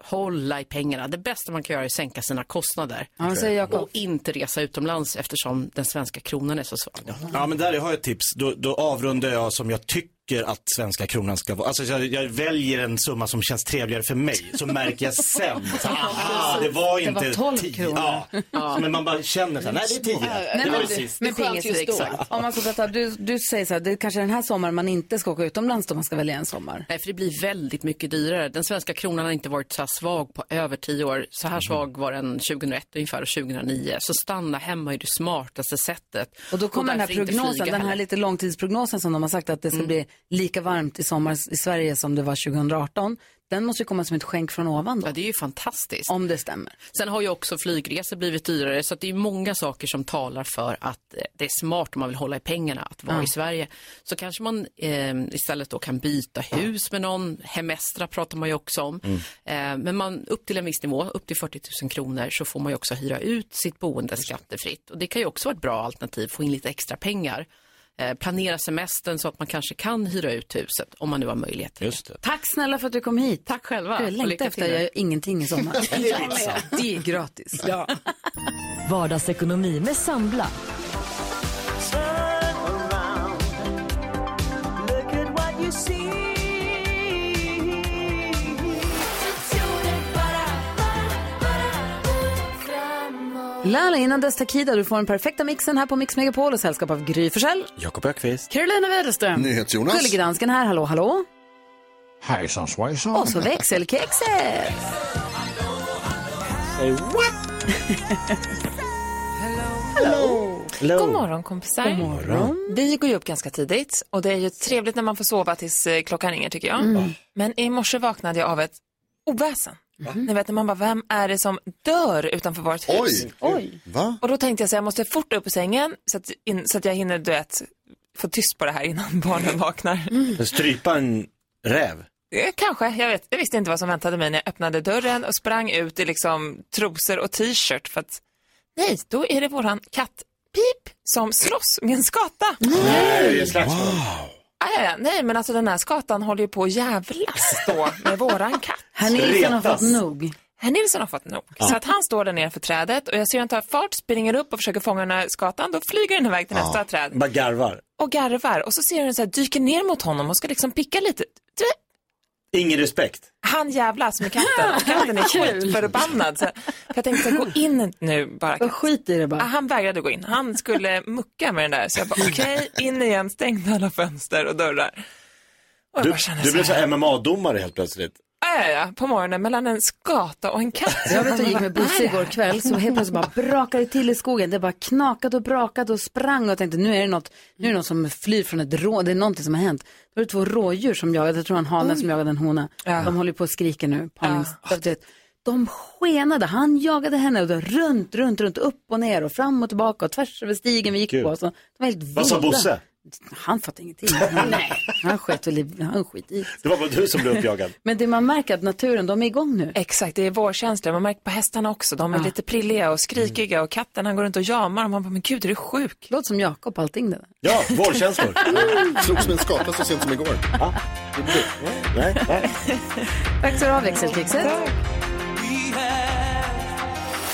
Speaker 18: hålla i pengarna. Det bästa man kan göra är att sänka sina kostnader.
Speaker 1: Ja, vad säger Jakob?
Speaker 18: och inte resa utomlands eftersom den svenska kronan är så svag.
Speaker 6: Ja men där har jag ett tips. Då, då avrundar jag som jag tycker att svenska kronan ska vara. Alltså jag, jag väljer en summa som känns trevligare för mig. Så märker
Speaker 1: <laughs>
Speaker 6: jag sen. Så, aha, det var
Speaker 1: Det var
Speaker 6: inte
Speaker 1: 12
Speaker 6: 10.
Speaker 1: kronor.
Speaker 6: Ja. Men man bara känner så här, nej det är 10.
Speaker 1: Nej,
Speaker 6: det var
Speaker 1: men,
Speaker 6: ju
Speaker 1: du,
Speaker 6: sist.
Speaker 1: men Pingis, exakt. Om man ska prata, du, du säger så här, det är kanske den här sommaren man inte ska åka utomlands om man ska välja en sommar.
Speaker 18: Nej, för det blir väldigt mycket dyrare. Den svenska kronan har inte varit så här svag på över tio år. Så
Speaker 1: Mhm.
Speaker 18: här svag var den 2001 ungefär och 2009. Så stanna hemma är det smartaste sättet.
Speaker 1: Och då kommer den här
Speaker 18: därför inte
Speaker 1: prognosen,
Speaker 18: flyga
Speaker 1: den här
Speaker 18: heller.
Speaker 1: lite långtidsprognosen som de har sagt att det ska bli lika varmt i sommar i Sverige som det var 2018. Den måste ju komma som ett skänk från ovan då.
Speaker 18: Ja, det är ju fantastiskt.
Speaker 1: Om det stämmer.
Speaker 18: Sen har ju också flygresor blivit dyrare så att det är många saker som talar för att eh, det är smart om man vill hålla i pengarna att vara
Speaker 1: Ja.
Speaker 18: i Sverige. Så kanske man eh, istället då kan byta hus med någon. Hemestra pratar man ju också om.
Speaker 20: Mm.
Speaker 18: Eh, men man, upp till en viss nivå, upp till 40 000 kronor så får man ju också hyra ut sitt boende skattefritt. Och det kan ju också vara ett bra alternativ, få in lite extra pengar. Eh, planera semestern så att man kanske kan hyra ut huset om man nu har möjlighet till Just det.
Speaker 1: Tack snälla för att du kom hit. Tack
Speaker 18: själva.
Speaker 1: Jag
Speaker 18: Och lycka
Speaker 1: längtar efter,
Speaker 18: till.
Speaker 1: jag gör ingenting i sommar.
Speaker 18: Det är liksom.
Speaker 1: det är gratis.
Speaker 21: Ja. Vardagsekonomi med Sambla.
Speaker 22: Lala, innan dess Takida, du får den perfekta mixen här på Mix Megapol och sällskap av Gry Forssell.
Speaker 6: Jakob Ökvist.
Speaker 22: Carolina Widerström.
Speaker 3: NyhetsJonas.
Speaker 22: Gullige dansken här, hallå hallå.
Speaker 5: Alltså- Hejsan svejsan.
Speaker 22: Och så växelkexet.
Speaker 6: Säg what?
Speaker 19: Hello.
Speaker 6: Hello.
Speaker 19: God morgon kompisar.
Speaker 6: God morgon.
Speaker 19: Vi går ju upp ganska tidigt och det är ju trevligt när man får sova tills eh, klockan ringer tycker jag.
Speaker 20: Mm.
Speaker 19: Men i morse vaknade jag av ett oväsen. Ni vet när man bara, vem är det som dör utanför vårt hus?
Speaker 20: Oj. Oj.
Speaker 3: Va?
Speaker 19: Och då tänkte jag så här, jag måste fort upp ur sängen så att, in, så att jag hinner, du vet, få tyst på det här innan barnen vaknar.
Speaker 6: Men Strypa en räv.
Speaker 19: Eh, Kanske, jag, vet, jag visste inte vad som väntade mig när jag öppnade dörren och sprang ut i liksom trosor och t-shirt för att nej, då är det våran katt Pip som slåss med en skata.
Speaker 6: Nej, slagsmål.
Speaker 19: Ah, ja, ja. Nej, men alltså den här skatan håller ju på att jävlas då med våran katt.
Speaker 1: Herr Nilsson har fått nog.
Speaker 19: Herr Nilsson har fått nog.
Speaker 1: Ja.
Speaker 19: Så att han står där nere för trädet och jag ser hur han tar fart, springer upp och försöker fånga den här skatan. Då flyger den iväg till nästa träd
Speaker 6: Bara garvar.
Speaker 19: och garvar och så ser jag den så här dyker ner mot honom och ska liksom picka lite. Du vet,
Speaker 6: Ingen respekt.
Speaker 19: han jävlas med katten och katten är skitförbannad. Så jag tänkte gå in nu bara. Katt.
Speaker 1: Skit i det bara.
Speaker 19: Ah, Han vägrade gå in. Han skulle mucka med den där. Så jag bara okej, in igen, stängde alla fönster och dörrar. Och jag
Speaker 6: Du,
Speaker 19: bara kände
Speaker 6: du blev
Speaker 19: så
Speaker 6: så
Speaker 19: här.
Speaker 6: MMA-domare helt plötsligt.
Speaker 19: Ja, ja, ja, på morgonen mellan en skata och en katt.
Speaker 1: Jag vet att jag gick
Speaker 19: Vad
Speaker 1: med
Speaker 19: är
Speaker 1: Bosse
Speaker 19: det
Speaker 1: igår
Speaker 19: här?
Speaker 1: kväll så helt plötsligt bara brakade det till i skogen. Det bara knakade och brakade och sprang och tänkte nu är det något, nu är det något som flyr från ett rå, det är någonting som har hänt. Då var det två rådjur som jagade, jag tror en hane som jagade en hona. De håller ju på och skriker nu, parnings... det- De skenade, han jagade henne och då runt, runt, runt, upp och ner och fram och tillbaka och tvärs över stigen vi gick på. Så de var helt
Speaker 6: Vad sa
Speaker 1: vilda.
Speaker 6: Bosse?
Speaker 1: Han fattade
Speaker 6: <laughs>
Speaker 1: ingenting. Han, han sket väl i, han skit i.
Speaker 6: Det var bara du som blev uppjagad.
Speaker 1: Men det man märker att naturen, de är igång nu.
Speaker 19: Exakt, det är vårkänslor. Man märker på hästarna också. De är lite prilliga och skrikiga och katten han går runt och jamar och man bara, men gud är du sjuk?
Speaker 1: Låter som Jakob allting det där.
Speaker 6: Ja, vårkänslor.
Speaker 3: Slogs med en skata så sent som igår.
Speaker 6: Nej, nej.
Speaker 1: Tack så du ha, växelkexet.